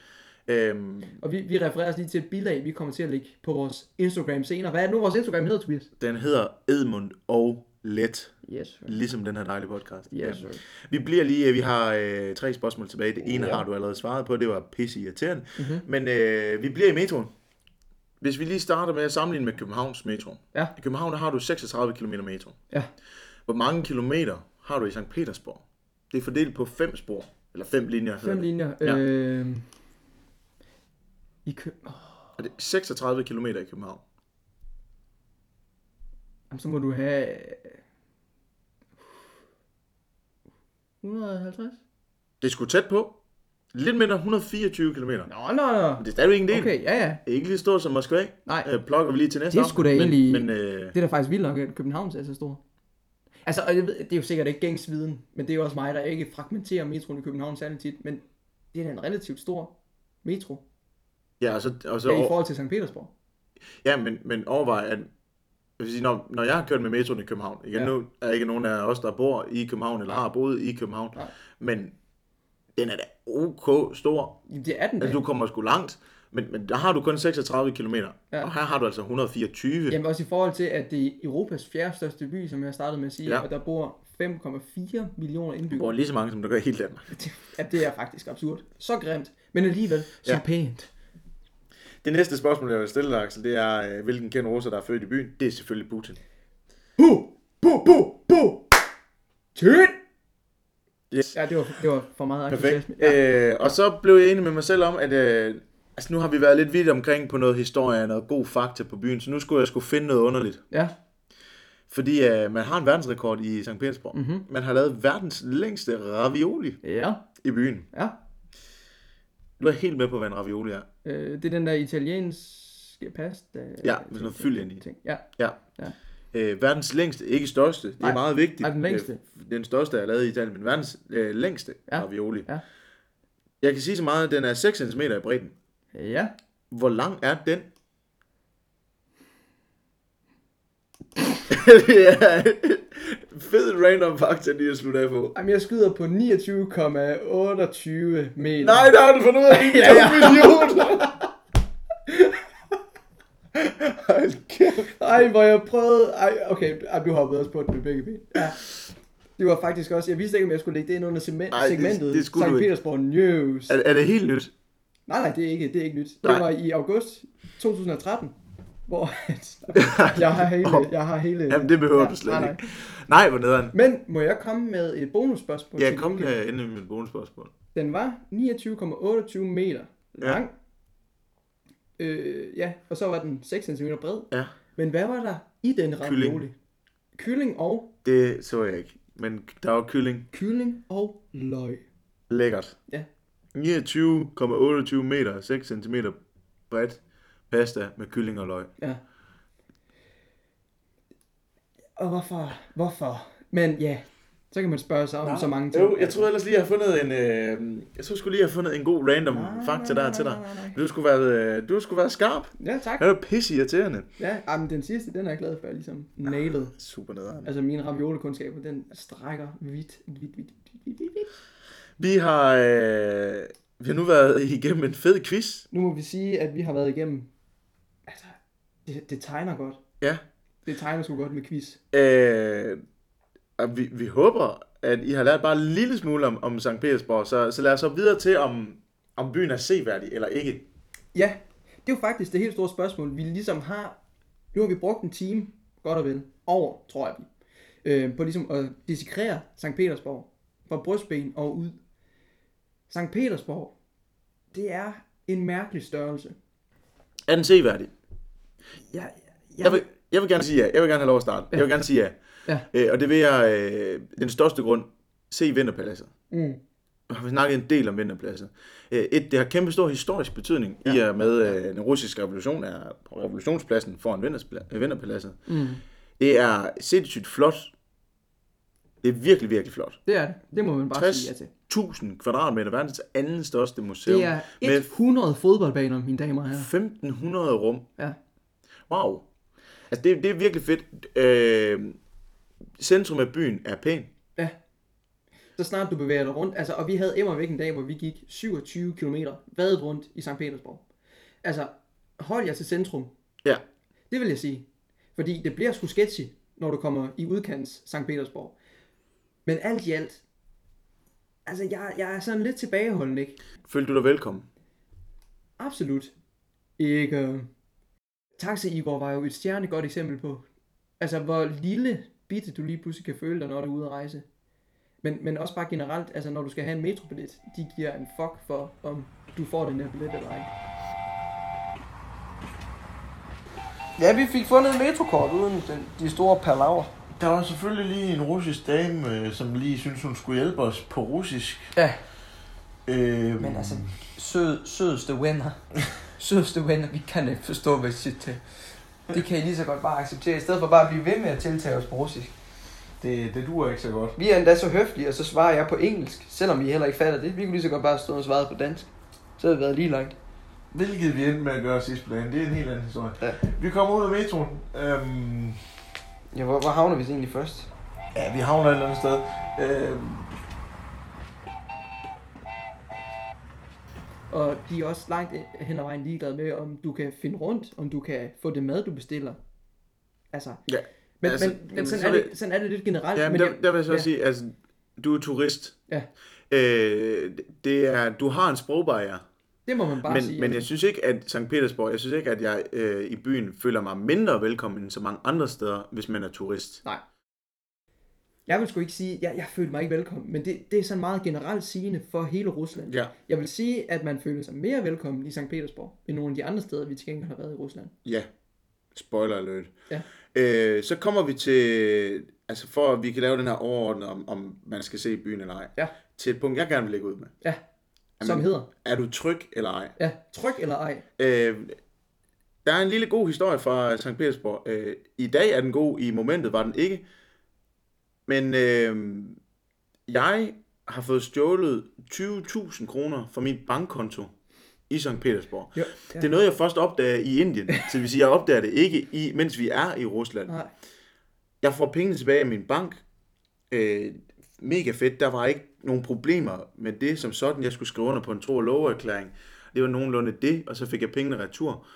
Øhm,
Og vi, vi refererer os lige til et bilag, vi kommer til at lægge på vores Instagram senere. Hvad er det nu, vores Instagram hedder, Tobias?
den hedder Edmund og Let,
Yes, sir.
ligesom den her dejlige podcast.
Yes, sir.
Vi bliver lige, vi har øh, tre spørgsmål tilbage. Det ene har du allerede svaret på, det var pisse irriterende. Mm-hmm.
Mhm.
Men øh, vi bliver i metroen. Hvis vi lige starter med at sammenligne med Københavns metro.
Ja.
I København der har du 36 km metro.
Ja.
Hvor mange kilometer har du i St. Petersborg? Det er fordelt på fem spor, eller fem linjer. hedder
Fem
det.
linjer. Ja.
Ja.
Øh, I kø... oh,
Og det er 36 km i København.
jamen, så må du have... øh, 150?
Det er sgu tæt på. Lidt mindre 124 km. Men
Nå, nå, nå.
det er stadigvæk en del.
Okay, ja, ja.
Det er ikke lige stort som Moskva.
Nej.
Øh, plukker vi lige til næste
Det er sgu da
aften.
egentlig-
Men, men øh,
Det er da faktisk vildt nok, at Københavns er så stor. Altså, og jeg ved, det er jo sikkert ikke gængs viden, men det er jo også mig, der ikke fragmenterer metroen i København særlig tit, men det er da en relativt stor metro
ja, og så, og så
ja, i forhold til St. Petersborg.
Ja, men, men overvej, at jeg vil sige, når, når jeg har kørt med metroen i København, igen,
Ja.
ja. nu er ikke nogen af os, der bor i København, eller har boet i København,
Nej.
men den er da ok stor.
Jamen, det er den da.
Altså, du kommer sgu langt, men, men der har du kun 36 km,
Ja.
ja. og her har du altså 124.
Jamen også i forhold til, at det er Europas fjerde største by, som jeg startede med at sige, ja.
Ja.
og der bor 5,4 millioner
Du bor
indbyggere.
lige så mange, som der gør i hele Danmark.
Ja, det er faktisk absurd. Så grimt, men alligevel så ja.
Ja.
pænt.
Det næste spørgsmål, jeg vil stille dig, Axel, det er, øh, hvilken kendt russer, der er født i byen? Det er selvfølgelig Putin.
Bu, bu, bu, bu. Tyt!
Yes.
Ja, det var, det var for meget
Perfekt.
entusiasme. Ja.
Ja. Øh, og så blev jeg enig med mig selv om, at øh, altså nu har vi været lidt vidt omkring på noget historie og noget god fakta på byen, så nu skulle jeg skulle finde noget underligt.
ja.
Fordi øh, man har en verdensrekord i St. Petersborg. Mm-hmm.
Mhm.
Man har lavet verdens længste ravioli
Ja,
i byen.
ja.
Du er helt med på, hvad en ravioli er.
Øh, det er den der italienske pasta. øh,
Ja, med sådan noget fyld ind i.
Ting. Ja,
Ja.
Ja.
Øh, verdens længste, ikke største. Det er
Nej.
meget vigtigt.
Nej, den længste.
Øh, den største er lavet i Italien, men verdens øh, længste
Ja.
ja. ravioli.
Ja.
Jeg kan sige så meget, at den er 6 cm i bredden.
ja.
Hvor lang er den? det er fed random fakta, lige at slutte af på.
Jamen, jeg skyder på 29,28 meter.
Nej, der har du fundet ud af, ja, ja. million. Hold kæft.
Ej, hvor jeg prøvede... Ej, okay, ej, du hoppede også på den med begge ben. Ja. Det var faktisk også... Jeg vidste ikke, om jeg skulle lægge det ind under segment,
Ej, det-
segmentet.
det skulle
Sankt
du ikke.
Petersborg News.
Er, er det helt nyt?
Nej, nej, det er ikke, det er ikke nyt. Det
Nej.
var i august 2013, hvor at- jeg har hele... Jeg har hele
Jamen, det behøver
Ja,
ja, du slet
nej,
nej,
nej.
nej. ikke. Nej, hvor nederen.
Men må jeg komme med et bonusspørgsmål?
Ja,
til
kom
det?
her endelig med mit bonusspørgsmål.
Den var 29,28 meter
Ja.
lang. Ja. Øh, ja, og så var den 6 cm bred.
Ja,
Men hvad var der i den ravioli?
Kylling.
Kylling. Kylling og
det så jeg ikke. Men der var kylling.
kylling og løg.
Lækkert.
Ja.
29,28 meter, 6 cm bredt pasta med kylling og løg.
Ja. Og hvorfor? Hvorfor? Men ja, så kan man spørge sig om så mange ting.
Jo, jeg tror ellers lige, jeg har fundet en... Øh, jeg tror skulle lige, jeg har fundet en god random fakta der til dig. Du skulle være, øh, du skulle være skarp.
Ja, tak.
Det er pisse irriterende.
Ja, ah, men den sidste, den er jeg glad for, jeg ligesom nailed.
Super nederen.
Altså mine raviolekundskaber, den strækker vidt, vidt, vidt, vidt, vidt, vidt.
Vi har, øh, vi har nu været igennem en fed quiz.
Nu må vi sige, at vi har været igennem... Altså, det, det tegner godt.
Ja.
Det tegner sgu godt med quiz.
Øh, og vi, vi håber, at I har lært bare en lille smule om, om St. Petersborg. Så, så lad os så videre til, om, om byen er seværdig eller ikke.
Ja, det er jo faktisk det helt store spørgsmål, vi ligesom har... Nu har vi brugt en time, godt og vel, over, tror jeg, vi, øh, på ligesom at dissekrere Sankt Petersborg fra brystben og ud. Sankt Petersborg, det er en mærkelig størrelse.
Er den seværdig?
Jeg,
Jeg vil, jeg vil gerne sige ja. Jeg vil gerne have lov at starte. Jeg vil gerne sige ja.
Ja.
Øh, og det vil jeg... Øh, den største grund, se Vinterpaladset.
Mm.
Og Vi snakkede en del om Vinterpaladset. Øh, Et, det har kæmpe stor historisk betydning, ja. i og med øh, den russiske revolution er på revolutionspladsen foran Vinterspla- øh, Vinterpaladset.
Mm.
Det er sindssygt flot. Det er virkelig, virkelig flot.
Det er det. Det må man bare 60. sige ja til.
60.000 kvadratmeter, verdens anden største museum,
Det er
med
100 fodboldbaner, mine damer og herrer.
1500 rum.
Ja.
Wow. Altså, det, det er virkelig fedt. Øh, centrum af byen er pæn.
Ja. Så snart du bevæger dig rundt, altså, og vi havde imod væk en dag, hvor vi gik 27 km vadet rundt i St. Petersborg. Altså, hold jer til centrum.
Ja.
Det vil jeg sige. Fordi det bliver sgu sketchy, når du kommer i udkants St. Petersborg. Men alt i alt, altså jeg, jeg er sådan lidt tilbageholden, ikke?
Følte du dig velkommen?
Absolut. Ikke. øh. Taxa Igor var jo et stjerne godt eksempel på. Altså, hvor lille bitte du lige pludselig kan føle dig, når du er ude at rejse. Men, men også bare generelt, altså når du skal have en metrobillet, de giver en fuck for, om du får den der billet eller ej.
Ja, vi fik fundet en metrokort uden den, de store palaver.
Der var selvfølgelig lige en russisk dame, øh, som lige synes hun skulle hjælpe os på russisk.
Ja,
Øh,
men altså, sød, sødeste venner. sødeste venner, vi kan ikke forstå, hvad I siger til. Det kan I lige så godt bare acceptere, i stedet for bare at blive ved med at tiltage os på russisk.
det, det duer ikke så godt.
Vi er endda så høflige, og så svarer jeg på engelsk, selvom vi heller ikke fatter det. Vi kunne lige så godt bare stå og svare på dansk. Så havde vi været lige langt.
Hvilket vi endte med at gøre sidst på dagen, det er en helt anden historie.
Ja.
Vi kommer ud af metroen. Øhm,
Ja, hvor, hvor havner vi så egentlig først?
ja, vi havner et eller andet sted. Øhm,
Og de er også langt hen ad vejen ligeglade med, om du kan finde rundt, om du kan få det mad, du bestiller. Altså,
Ja.
men,
Altså,
altså, men, men
jamen,
sådan,
så
er
vil-
det, sådan er det lidt generelt.
Ja, men
men
der,
jeg-
der vil jeg så
ja.
ja. sige, altså, du er turist.
Ja.
Øh, det er, du har en sprogbarriere,
Det må man bare sige.
men, men
altså.
jeg synes ikke, at St. Petersborg, jeg synes ikke, at jeg øh, i byen føler mig mindre velkommen end så mange andre steder, hvis man er turist.
Nej. Jeg vil sgu ikke sige, jeg, jeg følte mig ikke velkommen, men det, det er sådan meget generelt sigende for hele Rusland.
Ja.
Jeg vil sige, at man føler sig mere velkommen i St. Petersborg, end nogle af de andre steder, vi til gengæld har været i Rusland.
Ja. Spoiler alert.
Ja.
Øh, så kommer vi til, altså for at vi kan lave den her overordnede, om, om man skal se byen eller ej,
Ja.
til et punkt, jeg gerne vil lægge ud med.
Ja,
Jamen.
som hedder,
Er du tryg eller ej?
ja, tryk eller ej.
Øh, der er en lille god historie fra St. Petersborg. Øh, I dag er den god, i momentet var den ikke. Men øh, jeg har fået stjålet 20.000 kroner fra min bankkonto i St. Petersborg.
Jo, ja.
Det er noget, jeg først opdager i Indien. Så det vil sige, jeg opdager det ikke, i, mens vi er i Rusland.
Nej.
Jeg får pengene tilbage af min bank. Øh, mega fedt. Der var ikke nogen problemer med det som sådan. Jeg skulle skrive under på en tro- og loverklæring. Det var nogenlunde det, og så fik jeg pengene retur.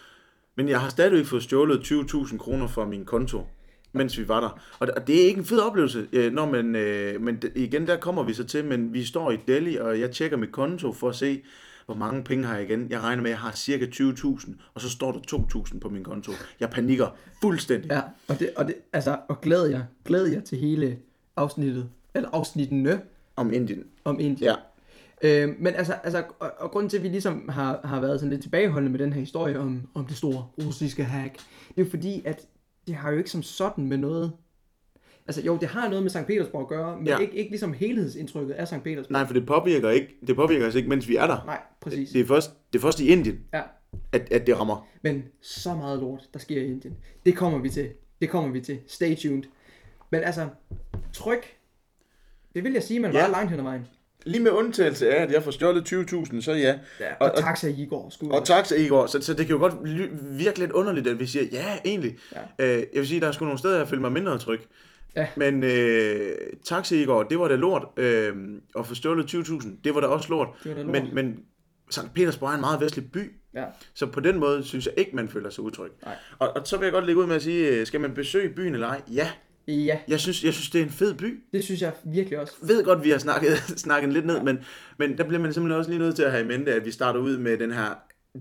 Men jeg har stadigvæk fået stjålet 20.000 kroner fra min konto, mens vi var der. Og og det er ikke en fed oplevelse, øh, når man, øh, men d- igen, der kommer vi så til, men vi står i Delhi, og jeg tjekker mit konto for at se, hvor mange penge har jeg igen. Jeg regner med, at jeg har cirka 20.000, og så står der 2.000 på min konto. Jeg panikker fuldstændig.
Ja, og, det, og, det, altså, og glæd jer, glæd jer til hele afsnittet, eller afsnittene
Om Indien.
om Indien.
Ja.
Øh, men altså, altså og, og grunden til, at vi ligesom har, har været sådan lidt tilbageholdende med den her historie om, om det store russiske hack, det er jo fordi, at det har jo ikke som sådan med noget... Altså jo, det har noget med St. Petersborg at gøre, men ja.
Ja.
ikke, ikke ligesom helhedsindtrykket af St. Petersborg.
Nej, for det påvirker, ikke, det påvirker os ikke, mens vi er der.
Nej, præcis.
Det er først, det er først i Indien,
Ja,
at, at det rammer.
men så meget lort, der sker i Indien. Det kommer vi til. Det kommer vi til. Stay tuned. Men altså, tryk. Det vil jeg sige, man var
Ja.
langt hen ad vejen.
Lige med undtagelse af, at jeg får stjålet 20.000, så ja.
Ja,
Og-
og, og taxa i går. Skulle
Og tak til Igor, så, så det kan jo godt ly- virke lidt underligt, at vi siger, ja, egentlig.
Ja.
Øh, jeg vil sige, der er sgu nogle steder, jeg føler mig mindre tryg.
Ja.
Men øh, tak til Igor, det var da lort. Øh, at få stjålet 20.000, det var da også lort.
Det var da lort.
Men, men Sankt Petersborg er en meget vestlig by,
Ja.
så på den måde synes jeg ikke, man føler sig utryg.
Nej.
Og, og så vil jeg godt lægge ud med at sige, øh, skal man besøge byen eller ej? Ja,
ja,
jeg synes, jeg synes det er en fed by.
det synes jeg virkelig også.
ved godt, vi har snakket, snakket lidt ned, men, men der bliver man simpelthen også lige nødt til at have i mente, at vi starter ud med den her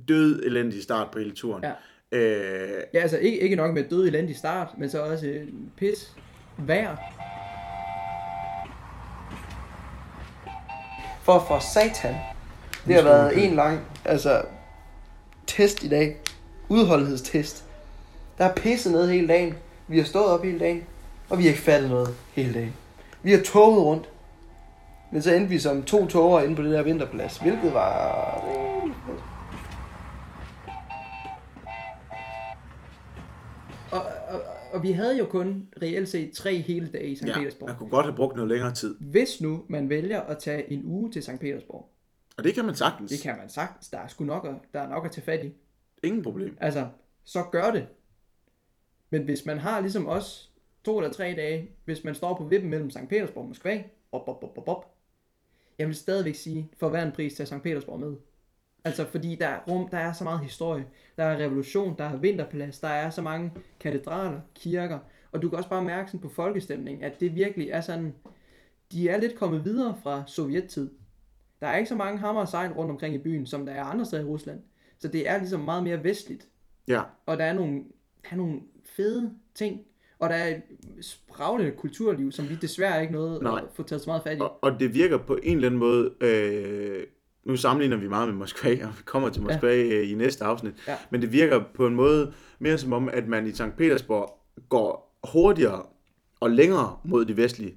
død elendige start på hele turen.
Ja.
Øh,
Ja, altså ikke, ikke nok med død i land i start, men så også øh, pis, vejr.
For for satan. Det har været en lang, altså, test i dag. Udholdenhedstest. Der er pisset ned hele dagen. Vi har stået op hele dagen. Og vi har ikke fattet noget hele dagen. Vi har toget rundt.
Men så endte vi som to tårer inde på det der vinterplads, hvilket var rimelig fedt. Og, og, og vi havde jo kun reelt set tre hele dage i St.
Ja,
Petersborg.
man kunne godt have brugt noget længere tid.
Hvis nu man vælger at tage en uge til St. Petersborg,
Og det kan man sagtens.
det kan man sagtens, der er sgu nok at, der er nok at tage fat i.
Ingen problem.
Altså, så gør det. Men hvis man har ligesom os to eller tre dage, hvis man står på vippen mellem St. Petersborg og Moskva, op, op, op, op, op, jeg vil stadigvæk sige, for hver en pris tage St. Petersborg med. Altså, fordi der er rum, der er så meget historie, der er revolution, der er vinterplads, der er så mange katedraler, kirker, og du kan også bare mærke sådan på folkestemningen, at det virkelig er sådan, de er lidt kommet videre fra sovjettid. Der er ikke så mange hammer og sejl rundt omkring i byen, som der er andre steder i Rusland. Så det er ligesom meget mere vestligt.
Ja,
Og der er nogle, der er nogle fede ting. Og der er et spraglende kulturliv, som vi desværre ikke nåede
Nej.
at få taget så meget fat i.
og, og det virker på en eller anden måde... Øh, nu sammenligner vi meget med Moskva, og vi kommer til Moskva ja. i næste afsnit.
Ja.
Men det virker på en måde mere som om, at man i St. Petersborg går hurtigere og længere mod det vestlige,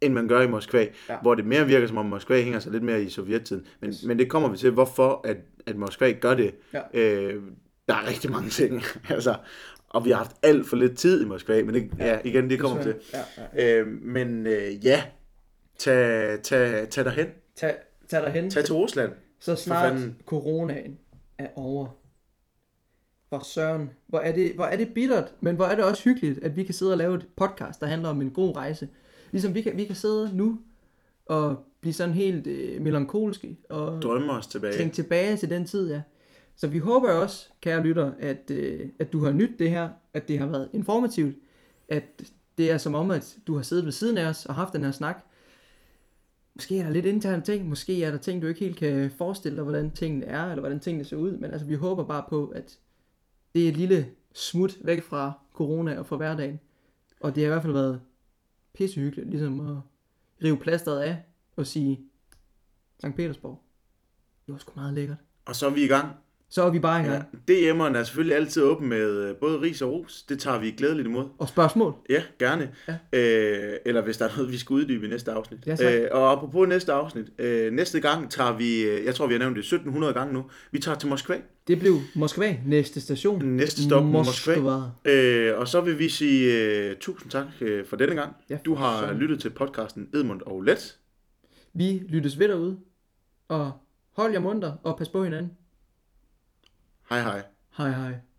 end man gør i Moskva.
Ja.
Hvor det mere virker som om, Moskva hænger sig lidt mere i sovjettiden. Men, yes. men det kommer vi til, hvorfor at, at Moskva gør det.
Ja.
Øh, der er rigtig mange ting. altså, og vi har haft alt for lidt tid i Moskva, men det, ja. Ja, igen, det kommer vi til.
Ja,
Øh, men øh, ja, tag, tag, tag dig hen.
Tag, tag dig hen,
Tag til Rusland.
så snart
fanden.
coronaen er over. Hvor søren, hvor er, det, hvor er det bittert, men hvor er det også hyggeligt, at vi kan sidde og lave et podcast, der handler om en god rejse. Ligesom vi kan, vi kan sidde nu og blive sådan helt øh, melankolske og
Drømme os tilbage.
Tænk tilbage til den tid, ja. Så vi håber jo også, kære lytter, at, øh, at du har nydt det her, at det har været informativt, at det er som om, at du har siddet ved siden af os og haft den her snak. Måske er der lidt interne ting, måske er der ting, du ikke helt kan forestille dig, hvordan tingene er, eller hvordan tingene ser ud, men altså vi håber bare på, at det er et lille smut væk fra corona og fra hverdagen. Og det har i hvert fald været pissehyggeligt, ligesom at rive plasteret af og sige, Sankt Petersborg, det var sgu meget lækkert.
Og så er vi i gang.
Så er vi bare i
Ja.
gang.
DM'erne er selvfølgelig altid åben med øh, både ris og ros. Det tager vi glædeligt imod.
Og spørgsmål?
Ja, gerne. Ja. Øh, eller hvis der er noget, vi skal uddybe i næste afsnit.
Ja, tak.
øh, og apropos næste afsnit. Øh, næste gang tager vi, øh, jeg tror vi har nævnt det 1700 gange nu, vi tager til Moskva.
Det blev Moskva. Næste station.
Næste stop Moskva.
Moskva.
Øh, og så vil vi sige øh, tusind tak øh, for denne gang.
Ja,
du
for
har
søren.
lyttet til podcasten Edmund og Let.
Vi lyttes ved derude. Og hold jer munter og pas på hinanden.
Hej hej.
Hej hej.